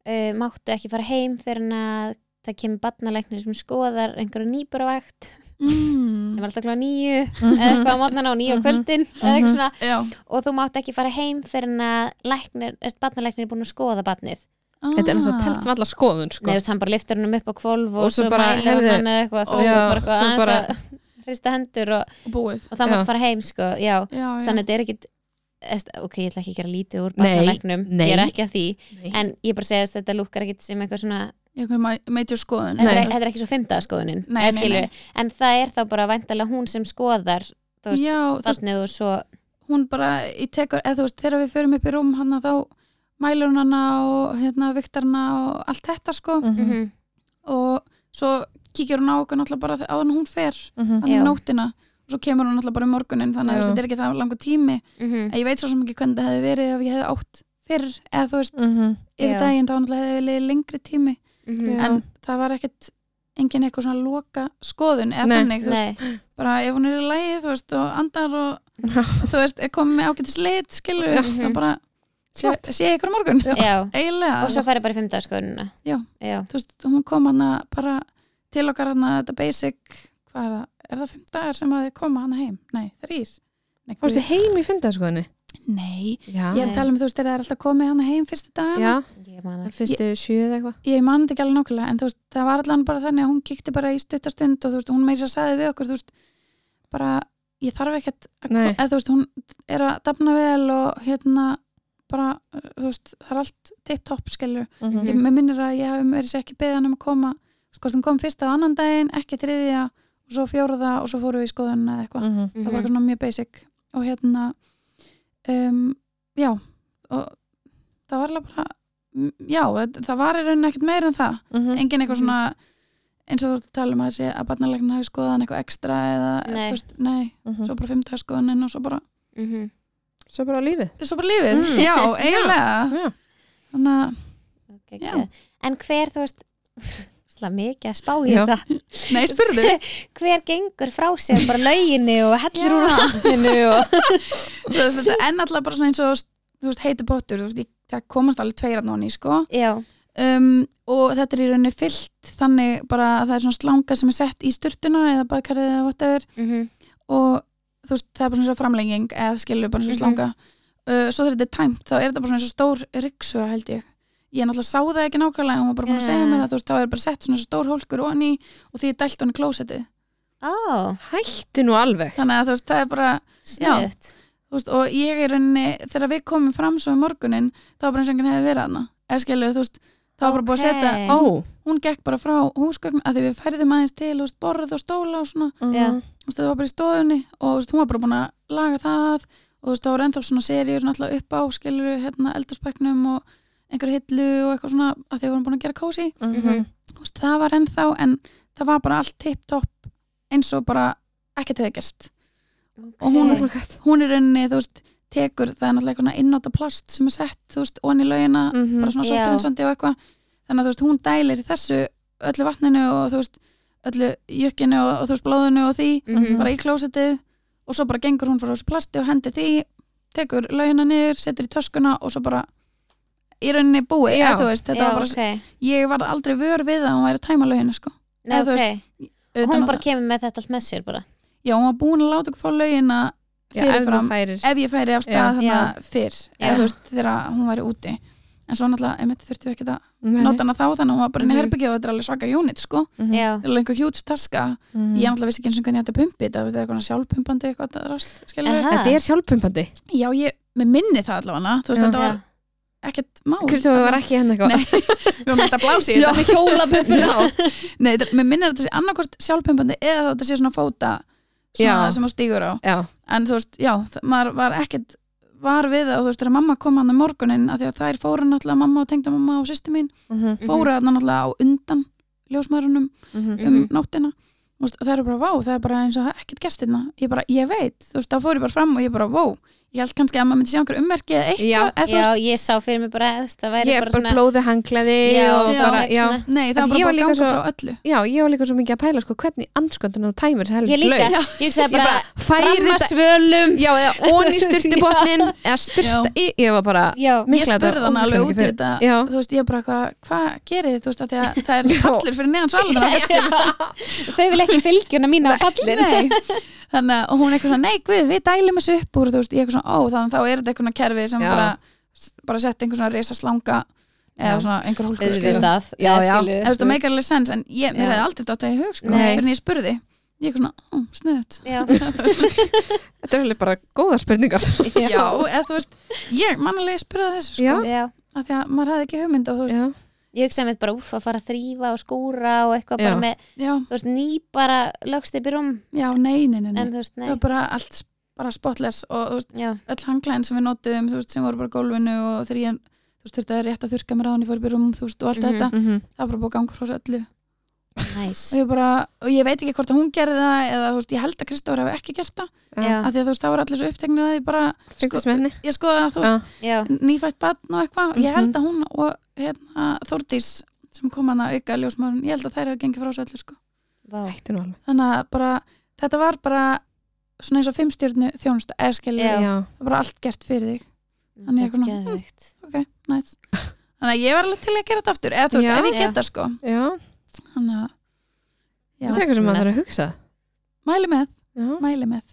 A: uh, máttu ekki fara heim fyrir en að það kemur barnalæknir sem skoðar einhverju nýbúravægt sem
C: mm,
A: er alltaf klá nýju
B: Mhm.
A: eða eitthvað á mótnana og nýju á kvöldin eða eitthvað svona
C: já,
A: og þú mátt ekki fara heim fyrir en að læknir, barnalæknir er búin að skoða barnið
B: Þetta er
C: Ah.
B: alltaf telst valla skoðun
A: Nei,
B: sko.
A: þú veist, hann bara liftur hann upp á kvolf og,
B: Og svo
A: svo
B: bara,
A: mælir hann
B: heyrðu,
A: hann eða eitthvað, þú
C: og-
A: veist,
B: já,
A: bara eitthvað
B: svo
A: aðeins
B: bara-
A: að hrista hendur og,
C: og búið
A: og það
B: Já.
A: mátt fara heim, sko, já
C: já, já.
A: þannig að þetta er ekkit eðst- ok, ég ætla ekki að gera lítið úr
B: Nei,
A: barnalæknum ég er
B: nei.
A: ekki að því,
B: Nei.
A: en ég bara segist þetta lúkkar ekkit sem eitthvað svona
C: einhver ma- major skoðun
A: þetta er,
B: Nei.
A: þetta er ekki svo fymta skoðunin
C: Nei,
A: eða
C: nei,
A: skilurðu.
C: nei.
A: en það er þá bara væntalega hún sem skoðar þú veist,
C: já, þú veist,
A: barnið og svo
C: hún bara í tekur, eða þú veist, þegar við förum upp í rúm hann þá mælur hún hana og hérna viktar hana og allt þetta sko
B: Mhm.
A: mhm,
C: og svo kíkir hún á okkur náttúrulega bara þegar- áður en hún fer
B: Mhm.
C: hann
A: Já.
C: nótina og svo kemur hún náttúrulega bara um morgunin þannig
B: Já.
C: að þú veist, þetta er ekki það langur tími
A: mhm,
C: en ég veit svo sem ekki hvernig það hefði verið ef ég hefði átt fyrr eða þú veist,
B: Mhm.
C: yfir
A: Já.
C: daginn þá náttúrulega hefði verið lengri tími
A: mhm.
B: Já.
C: en það var ekkert engin eitthvað svona loka skoðun eða
B: Nei.
C: þannig, þú veist,
A: Nei,
C: bara ef hún er í lægi þú veist, og andar og þú veist, er komið með ágætis lit, skilur
A: Já.
C: þá bara sé,
B: Flott.
C: sé ég ykkur á morgun,
A: já,
C: eiginlega
A: og svo færi bara í fymta skoðunina
C: Já.
A: já,
C: þú veist, hún kom hana bara til okkar hana, þetta basic hvað er það, er það fimm dagar sem að þið koma hana heim, nei, þrýr nei,
B: Fórstu
C: guð.
B: heim í fundaskoðunni?
C: nei,
B: Já.
C: ég er að tala um þú veist, er það er alltaf komið hana heim fyrstu dagar
B: Já.
A: ég man
B: Það
A: ekki
B: fyrstu sjö eða eitthvað.
C: ég man þetta ekki alveg nákvæmlega en þú veist, það var allan bara þannig að hún kíkti bara í stuttastund og þú veist, hún meira að sagði við okkur þú veist, bara, ég þarf ekkert að,
B: Nei.
C: eða, þú veist, hún er að dafna vel og hérna bara, þú veist, það er allt tipp-topp skilur,
A: Mhm.
B: Mm.
C: ég mér minnir að ég hafi verið sér ekki beðið hann um að koma sko, hún kom fyrsta á annan daginn, ekki þriðja og svo fjóraða og svo fóru við í skoðunna eða eitthvað,
B: Mhm.
C: það var eitthvað svona mjög basic og hérna um, já, og það var alveg bara m- já, það- það var í rauninni ekkert meir en það
B: Mhm.
C: engin eitthvað svona eins og þú ert að tala um að sé að barnalegnin hafi skoðan eitthvað ekstra eða
A: Nei.
C: þú veist, nei,
B: Mhm.
C: svo bara fimmtagarskoðanin og svo bara,
A: Mhm.
B: Svo bara á lífið.
C: svo bara lífið
B: Mm.
C: já, eiginlega
B: Já.
C: þannig að,
A: Geggjað. en hver, þú veist slá mikið að spá í
B: Já.
A: þetta
C: nei, spurðu
A: hver gengur frá sér bara lauginni og hellir úr
C: Já.
A: vatninu og...
C: Þú veist, þetta er enn alltaf bara svona eins og þú veist, heiti pottur, þú veist, ég, það komast alveg tveir að nóni, sko
A: já,
C: um, og þetta er í rauninni fyllt þannig bara að það er svona slanga sem er sett í sturtuna eða bakarið eða whatever
A: mhm,
C: og þú veist, það er bara svona eins og framlenging eða skilur bara
A: Mhm.
C: eins og slanga uh, svo þegar þetta er tæmt, þá er þetta bara svona eins og stór ryksuga held ég, ég náttúrulega sá það ekki nákvæmlega, hún var bara búin að segja
A: Ja.
C: mér það þú veist, þá er bara sett svona eins og stór hólkur onni og því er dælt onni klósettið,
A: á,
B: Hætti nú alveg.
C: þannig að þú veist, það er bara
A: snutt
C: þú veist, og ég er rauninni, þegar við komum fram svo um morgunin, þá var bara eins og einhvern hefði verið hana, eða skilur, þú veist þá var bara búin að
A: Ókei.
C: setja,
B: Ó.
C: hún gekk bara frá húsgögn að því við færðum aðeins til, þú veist, borð og stóla og svona,
A: Já.
C: þú veist, það var bara í stofunni og þú veist, hún var bara búin að laga það og þú veist, það var ennþá svona seríur náttúrulega upp á skilur, hérna, eldurspeknum og einhverju hillu og eitthvað svona að því við vorum búin að gera kósi,
B: Mhm.
C: þú veist, það var ennþá en það var bara allt tipp-topp eins og bara ekkert hefði gerst og hún
B: Oh
A: okay.
B: my god.
C: hún er rauninni, þú veist, tekur það er náttúrulega eitthvað svona innáta plast sem er sett, þú veist, onni lögina,
B: Mhm.
C: bara svona
A: Já.
C: sortrinsandi og eitthvað þannig að þú veist, hún dælir í þessu öllu vatninu og þú veist öllu jökkinu og, og þú veist, blóðinu og því
A: Mhm.
C: bara í klósitið og svo bara gengur hún frá þessu plasti og hendi því tekur lögina niður, setur í töskuna og svo bara í rauninni búið,
B: Já.
C: eða þú veist, þetta
A: já,
C: var bara
A: okay.
C: ég var aldrei vör við að hún væri að tæma lögina, sko
A: Nei,
C: eða þú
A: okay.
C: Utan
A: hún
C: að
A: bara
C: það-
A: kemur með þetta allt með sér bara
C: já, hún var búin að láta okkur fá laugina
B: Já, ef þú
C: fyrirfram,
B: færir
C: ef ég færi af stað
A: Já.
C: þannig fyrr,
A: Já.
C: eða þú veist, þegar hún væri úti en svo náttúrulega, emitt þurftu ekki að
B: Nei.
C: nota hana þá, þannig að hún var bara inn í
B: Mhm.
C: herbyggja og þetta er alveg svaka unit, sko,
B: Mhm.
A: já,
C: þetta er alveg einhver hjúts taska
B: Mhm.
C: ég náttúrulega vissi ekki eins og hvernig ég ætti að pumpi þetta, þú veist, það er eitthvað sjálfpumpandi eitthvað rast, skilur
A: Aha.
B: Þetta er sjálfpumpandi
C: já, ég, með minni það allavega, þú veist,
B: Já.
A: já.
C: þetta var ekkert mál
B: Kristján var ekki henni eitthvað
C: Nei. við varum ekkert að blási í
B: Já,
C: þetta
B: hjólapumpuna
C: Nei, þetta- mér minnir að þetta sé annarkvort sjálfpumpandi eða þá þetta sé svona fóta
B: Já.
C: svona, sem hún stígur á
B: Já,
C: en þú veist, já, það- maður var ekkert var við það og þú veist, þegar mamma kom hann á morgunin af því að þær fóru náttúrulega mamma og tengda mamma og sýsti mín,
B: Mhm.
C: fóru hann náttúrulega á undan ljósmaðurunum
B: Mhm.
A: Mhm.
C: um nóttina Þú veist, það eru bara, vá, það er bara eins og ekkert gestirna ég bara, ég veit, þú veist, þá fór ég bara fram og ég bara, vá, ég held kannski að maður myndi sjá einhver ummerki eða eitthvað,
B: Já,
C: eða þú
A: Mhm. já,
C: veist,
A: ég sá fyrir mig bara þú veist, það væri bara
B: Ég er bara
A: svona
B: blóðu hanglaði
A: Já,
B: og
C: já,
B: bara,
A: svona-
B: já,
A: svona-
C: nei, það
B: En
C: var
B: ég
C: bara
B: var
C: búið
B: líka
C: að ganga
B: svo-
C: frá öllu
B: já, ég var líka svo mikið að pæla sko, hvernig anskotun og tæmir helst
A: ég líka,
B: laug.
A: ég hugsaði
B: Ég
A: bara,
B: bara, færi
A: fram að
B: þetta-
A: svölum
B: Já, eða ón í styrtibotnin eða styrsta í, ég var bara
A: já,
C: ég
B: mikla
C: spurði hann alveg út í þetta
B: Já.
C: þú veist, ég bara, hvað hva gerir þið þú veist, af því að það
B: Já.
C: er allir fyrir neðan svalina
A: þau vil ekki fylgjuna mína á fallin
C: þannig að og hún er eitthvað svona, nei guð, við dælum þessu upp úr þú veist, ég eitthvað svona, ó, þannig að þá er þetta eitthvað svona kerfi sem
B: Já.
C: bara, bara sett einhver svona risa slanga eða
B: Já.
C: svona einhver hólkur skilur.
A: auðvitað,
B: Sko. Já,
A: eða
B: já.
A: skilur.
C: Eða þú veist, það meikar alveg sens, en ég, mér
B: Já.
C: hefði aldrei dátt að ég hug, sko,
B: Nei.
C: fyrir en ég spurði ég eitthvað svona, ó, snuðut
A: Já.
B: Þetta er alveg bara góða spurningar
C: já, eða þú veist, ég mannulega spurði þessu, sko,
B: Já.
A: Já.
C: af því að maður hefði ekki hugmynd og þú veist,
B: Já,
A: ég hugsaði mér bara, uff, að fara að þrýfa og skúra og eitthvað
B: Já.
A: bara með,
C: já,
A: þú veist, ný bara lögst upp í rúm,
C: já, nei, nei, nei, nei.
A: en þú veist, nei
C: það var bara allt bara spotless og þú veist,
A: já,
C: öll hanglæðin sem við notum veist, sem voru bara á gólfinu og þegar ég þú veist, þurfti að rétt að þurka mér á hann í fórbyrjum veist, og allt
A: Mhm.
C: þetta,
B: mhm.
C: það var bara búið gangur frá öllu
A: næs
C: og ég, bara, og ég veit ekki hvort að hún gerði það eða þú veist, ég held að Kristóður hafi ekki gert það
A: já,
C: af því að þú veist, það voru allir svo uppteknir að ég bara sko,
B: fylgist með henni
C: ég skoða þú veist,
A: já,
C: nýfætt barn og eitthvað og ég held
B: Mhm.
C: að hún og hérna, Þórdís sem kom hann að auka ljósmárun, ég held að þær hefur gengið frá þessu öllu sko.
A: vá
B: Ættu nú alveg
C: þannig að bara, þetta var bara svona eins og fimmstjörnu þjónust
A: Já.
C: eðskilur,
B: Já,
C: það var allt gert fyrir þig Þannig ég
A: þetta er
C: svona,
A: geðveikt.
C: ok, nice þannig að ég var alveg til í að gera þetta aftur eða þú veist,
B: Já.
C: ef ég
A: Já.
C: geta sko
B: já,
C: þannig að, já,
B: þetta er eitthvað sem maður þarf að hugsa
C: mæli með,
B: Já.
C: mæli með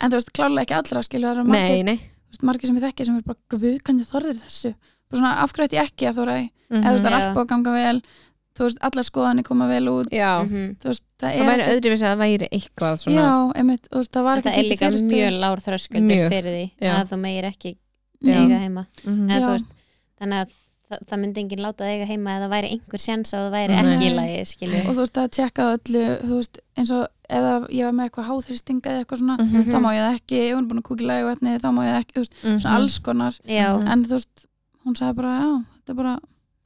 C: en þú veist, klálega ekki allra skilur það eru
B: Nei,
C: margir,
B: nei
C: þú veist, margir sem ég þekki sem er bara, guð, kannið þorður þessu og svona, afgrætt ég ekki að þóra mm eða þú
B: Mhm.
C: veist, það er
A: Já.
C: allt búið að ganga vel þú veist, allar skoðanir koma vel út
B: Já,
A: Mhm.
C: þú veist, það
B: það
C: er
B: væri öðruvísi að það væri eitthvað svona
C: já, einmitt, þú veist, það var
A: En það er líka mjög lágur þröskuldur
B: Mjög.
A: fyrir því
B: Já.
A: að þú meir ekki
B: Já.
C: Mm.
A: eiga heima
B: Mhm.
A: eða,
C: Já.
A: þú veist, þannig að það, það myndi enginn láta þig eiga heima eða það væri einhver sjans að það væri
B: Nei.
A: ekki í lagi skilju,
C: og þú veist, það tjekka á öllu þú veist, eins og, eða ég var með eitthvað háþristinga eða eitthvað svona,
B: Mhm.
C: þá má ég það ekki ef hún er búin að kúkila í vatni, þá má ég það ekki þú veist, svona alls konar
A: já,
B: Mhm.
C: en þú veist, hún sagði bara já, þetta er bara,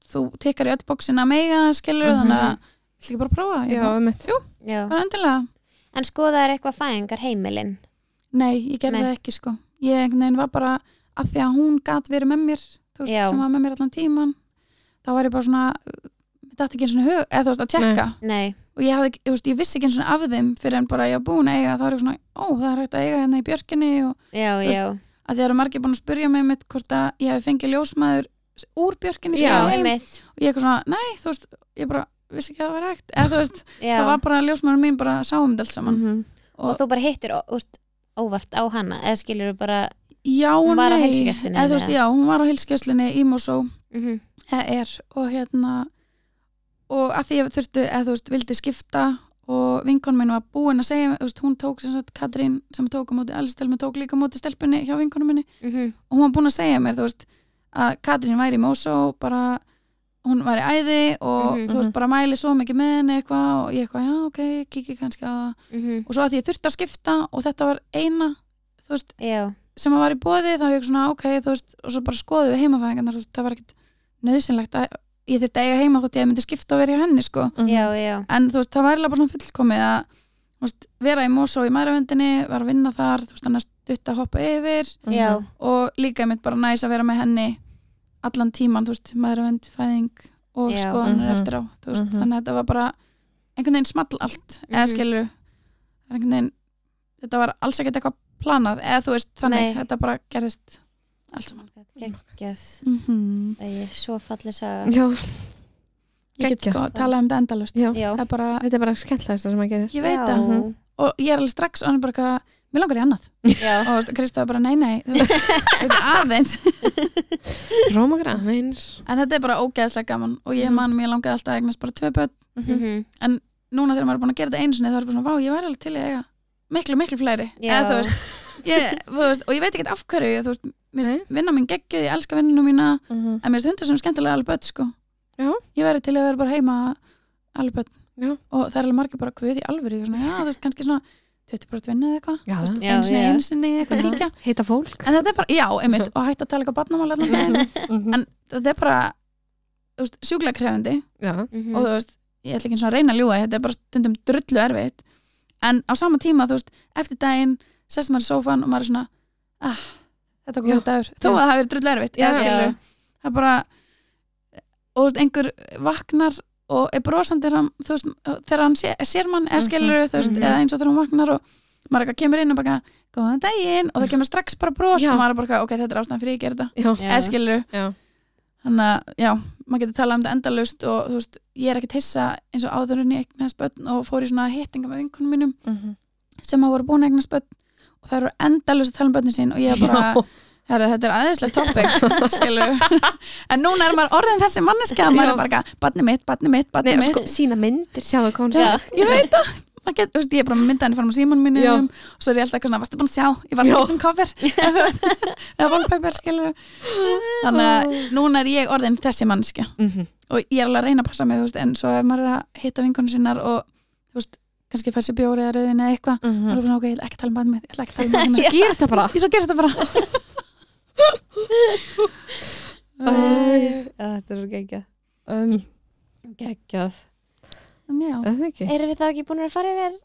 C: þú tekkar í öll bóksin að meiga það skilur
B: Mhm.
C: þannig að ég ekki bara að prófa, ég
B: Já,
C: bara,
B: um mitt
A: já
C: bara endilega
A: en skoðaður eitthvað fæðingar heimilin
C: nei, ég gerði
A: Nei.
C: það ekki sko ég einhvern veginn var bara, að því að hún gat verið með mér, þú veist,
A: Já.
C: sem var með mér allan tíman þá var ég bara svona þetta átti ekki einu svona hug, eða þú veist, að tjekka
A: nei,
C: og ég hafði, ekki- þú veist, ég vissi ekki einu svona af þeim fyrir en bara ég var búin að eiga, þá var ég svona ó, það er hægt að eiga hérna í björkinni og
A: já,
C: Þú veist,
A: já
C: að því það eru margir búin að spurja mig mitt hvort að ég hefði fengið ljósmaður úr björkinni
B: Já,
C: skilur,
A: já,
C: heim.
A: einmitt,
C: og ég eitthvað svona, nei, þú veist, ég bara vissi ekki að það var hægt, eða þú veist,
A: já Mhm.
C: það var bara ljósmaður mín bara sáum þetta alls saman
A: og þú bara hittir ó- úst, óvart á hana eða skilur þú bara
C: já,
A: Hún var á
C: nei,
A: heilsugæslunni,
C: eða þú veist,
A: eða?
C: já, hún var á hilskjöslinni í Mosó,
A: mhm,
C: eða er og hérna og að því ég þurftu, eða þú veist, vildi skipta og vinkon minn var búin að segja þú veist, hún tók sem sagt Katrín sem tók á móti Alistelmi tók líka á móti stelpunni hjá vinkonum minni
A: mhm,
C: og hún var búin að segja mér þú veist, að Katrín væri í Mosó bara, hún væri æði og
A: Mhm.
C: þú veist, bara mæli svo mikið með henni eitthvað og ég eitthvað, já ok, kiki kannski á það
A: mhm,
C: og svo að því ég þurfti að skipta og þetta var eina þú veist,
A: já,
C: sem að var í bóði þá er ég svona ok, þú veist, og svo bara skoðum við heimafæðingarnar þú veist, það var ekkit nöðsynlegt að ég þurfti að eiga heima þótt ég myndi skipta og vera hjá henni sko,
B: Mhm.
A: já, já
C: en þú veist, það var eiginlega bara svona fullkomið að þú veist, vera í Mosó í mæravendinni, var að vinna þar þú veist, þannig að stutt að hoppa yfir
A: já,
C: og líka mitt bara næs að vera með henni allan tíman, þú veist, mæravend fæðing og
A: Já.
B: Mhm.
C: skoðanir eftir á þú veist,
B: Mhm.
C: þannig að þetta var bara einhvern veginn small allt, eða
A: Mhm.
C: skilur einhvern veginn, þetta var alls ekkert eitthvað planað, eða þú veist, þannig
A: Nei.
C: þetta bara gerðist allt saman
A: geggjað
C: mm
A: það er svo fallið saga
B: Já,
C: ég get
B: Geggjað.
C: sko talað um þetta endalust
B: já
A: já,
C: það er bara,
B: Þetta er bara skemmtilegast sem maður gerir
C: ég
A: Já.
C: veit að
B: Mhm.
C: og ég er alveg strax og hann er bara eitthvað, mér langar í annað
A: já,
C: og Kristof bara, nei, nei, þú veist, þetta er aðeins
B: Róma græðins
C: en þetta er bara ógeðslega gaman og ég man, mér langaði alltaf að eignast bara tvö börn
A: mhm,
C: núna þegar maður er búin að gera þetta einu sinni þá er bara svona, vá, ég væri alveg til í að eiga miklu, miklu fleiri
A: Já.
C: eða þú veist, ég, þú veist og ég veit ekkert af hverju, þú veist, mér
B: Nei.
C: finnst vinna mín geggjuð, ég elska vinninu mína
B: Mhm.
C: en mér finnst hundar sem skemmtilega alveg börn, sko
B: Já.
C: ég væri til í að vera bara heima alveg börn
B: Já.
C: og það er alveg margir bara hvöð í alvöru Ég er svona, já, þú veist, kannski svona 20% vinna eða eitthvað
B: Já,
A: Já,
C: einu sinni,
A: já.
C: einu sinni, eitthvað
B: Já.
C: líka
B: heita fólk
C: en þetta er bara, já, einmitt, og hægt að tala eitthvað barnamál allan daginn.
B: Mhm.
C: þetta er bara, þú veist, sjúklega krefandi
B: Já,
A: mhm.
C: og þú veist, ég ætla ekki einu sinni að reyna að ljúga þetta er bara stundum drullu erfitt en á sama tíma, þú veist, eftir daginn sest maður í sófan og maður er svona ah, þetta var
B: Já.
C: góð dagur, þó að
B: Já.
C: það hafi verið drullu erfitt
B: Já.
C: eða skilur, það er bara og þú veist, einhver vaknar og er brosandi þegar hann, þú veist, þegar hann sé, sér mann eða
B: Mhm,
C: skilur, þú veist,
A: mhm.
C: eða eins og þegar hann vaknar og maður eitthvað kemur inn og bara góðan daginn og það kemur strax bara bros
B: Já.
C: og maður er bara, eitthvað, ok, þetta er ástæðan fyrir ég að gera þetta
B: já,
A: Já.
C: eða skilur,
B: já
C: þannig að já, maður getur talað um þetta endalaust og þú veist, ég er ekkert hissa eins og áður en ég eignast börn og fór í svona hittinga með vinkunum mínum
B: Mhm.
C: sem hafa voru búin að eignast börn og það eru endalaust að tala um börnin sín og ég er bara, herru, þetta er aðeinslega topic skilur, en núna er maður orðin þessi manneska,
B: Já.
C: maður er bara eitthvað, barnið mitt, barnið mitt,
B: Nei,
C: barnið mitt
B: sko, sína myndir, sjáðu hvað hún
A: Já.
B: sagði
C: ég veit það maður get, þú veist, ég er bara með myndaðan fram á símanum mínum
B: Já.
C: og svo er ég alltaf eitthvað svona, varstu búin að sjá ég var
B: Já.
C: skilt um cover eða þú veist, eða wallpaper, skilur þannig að núna er ég orðin þessi mannskja
B: Mhm.
C: og ég er alveg að reyna að passa mig þú veist, en svo ef maður er að hitta vingunum sinnar og þú veist, kannski fær sér bjóri eða rauðin eða eitthvað
A: Mm.
C: þá er
B: Mhm.
C: ég bara, ok, ég ætla ekki að tala um bæðið mitt ég ætla ekki að tala um bæðið
B: Svo
C: mitt
B: gerist það bara
C: ég svo gerist það bara
B: Æ,
A: þetta er svo geggjað
B: um, Geggjað
C: En já,
B: Er það ekki?
A: erum við þá ekki búin að fara yfir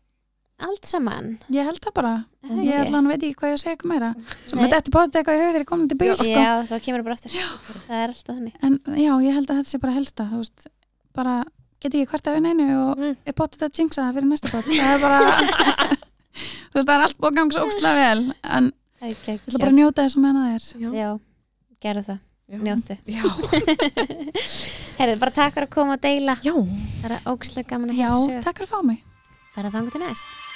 A: allt saman
C: ég held það bara
A: Er það
C: ég
A: ekki?
C: held hann veit ekki hvað ég að segja ykkur meira svo
A: Nei.
C: maður þetta postið eitthvað í hug þegar ég komin til bíl sko.
A: já, þá kemur það bara aftur það er alltaf þannig
C: en já, ég held að þetta sé bara helsta þú veist, bara get ekki hvert af einu og
B: Mm.
C: er potið að jinxa það fyrir næsta pot það er bara þú veist, það er allt búið að ganga svo ókslega vel en ég
A: það er
C: ætla bara að njóta þess að menna það er
A: já, gerðu það,
B: Já.
A: njóttu
B: Já,
A: herðu, bara takk fyrir að koma og deila
B: já
A: það er ógstlega gaman að
C: já,
A: heyra sögur
C: takk fyrir að fá mig
A: bara þangu til næst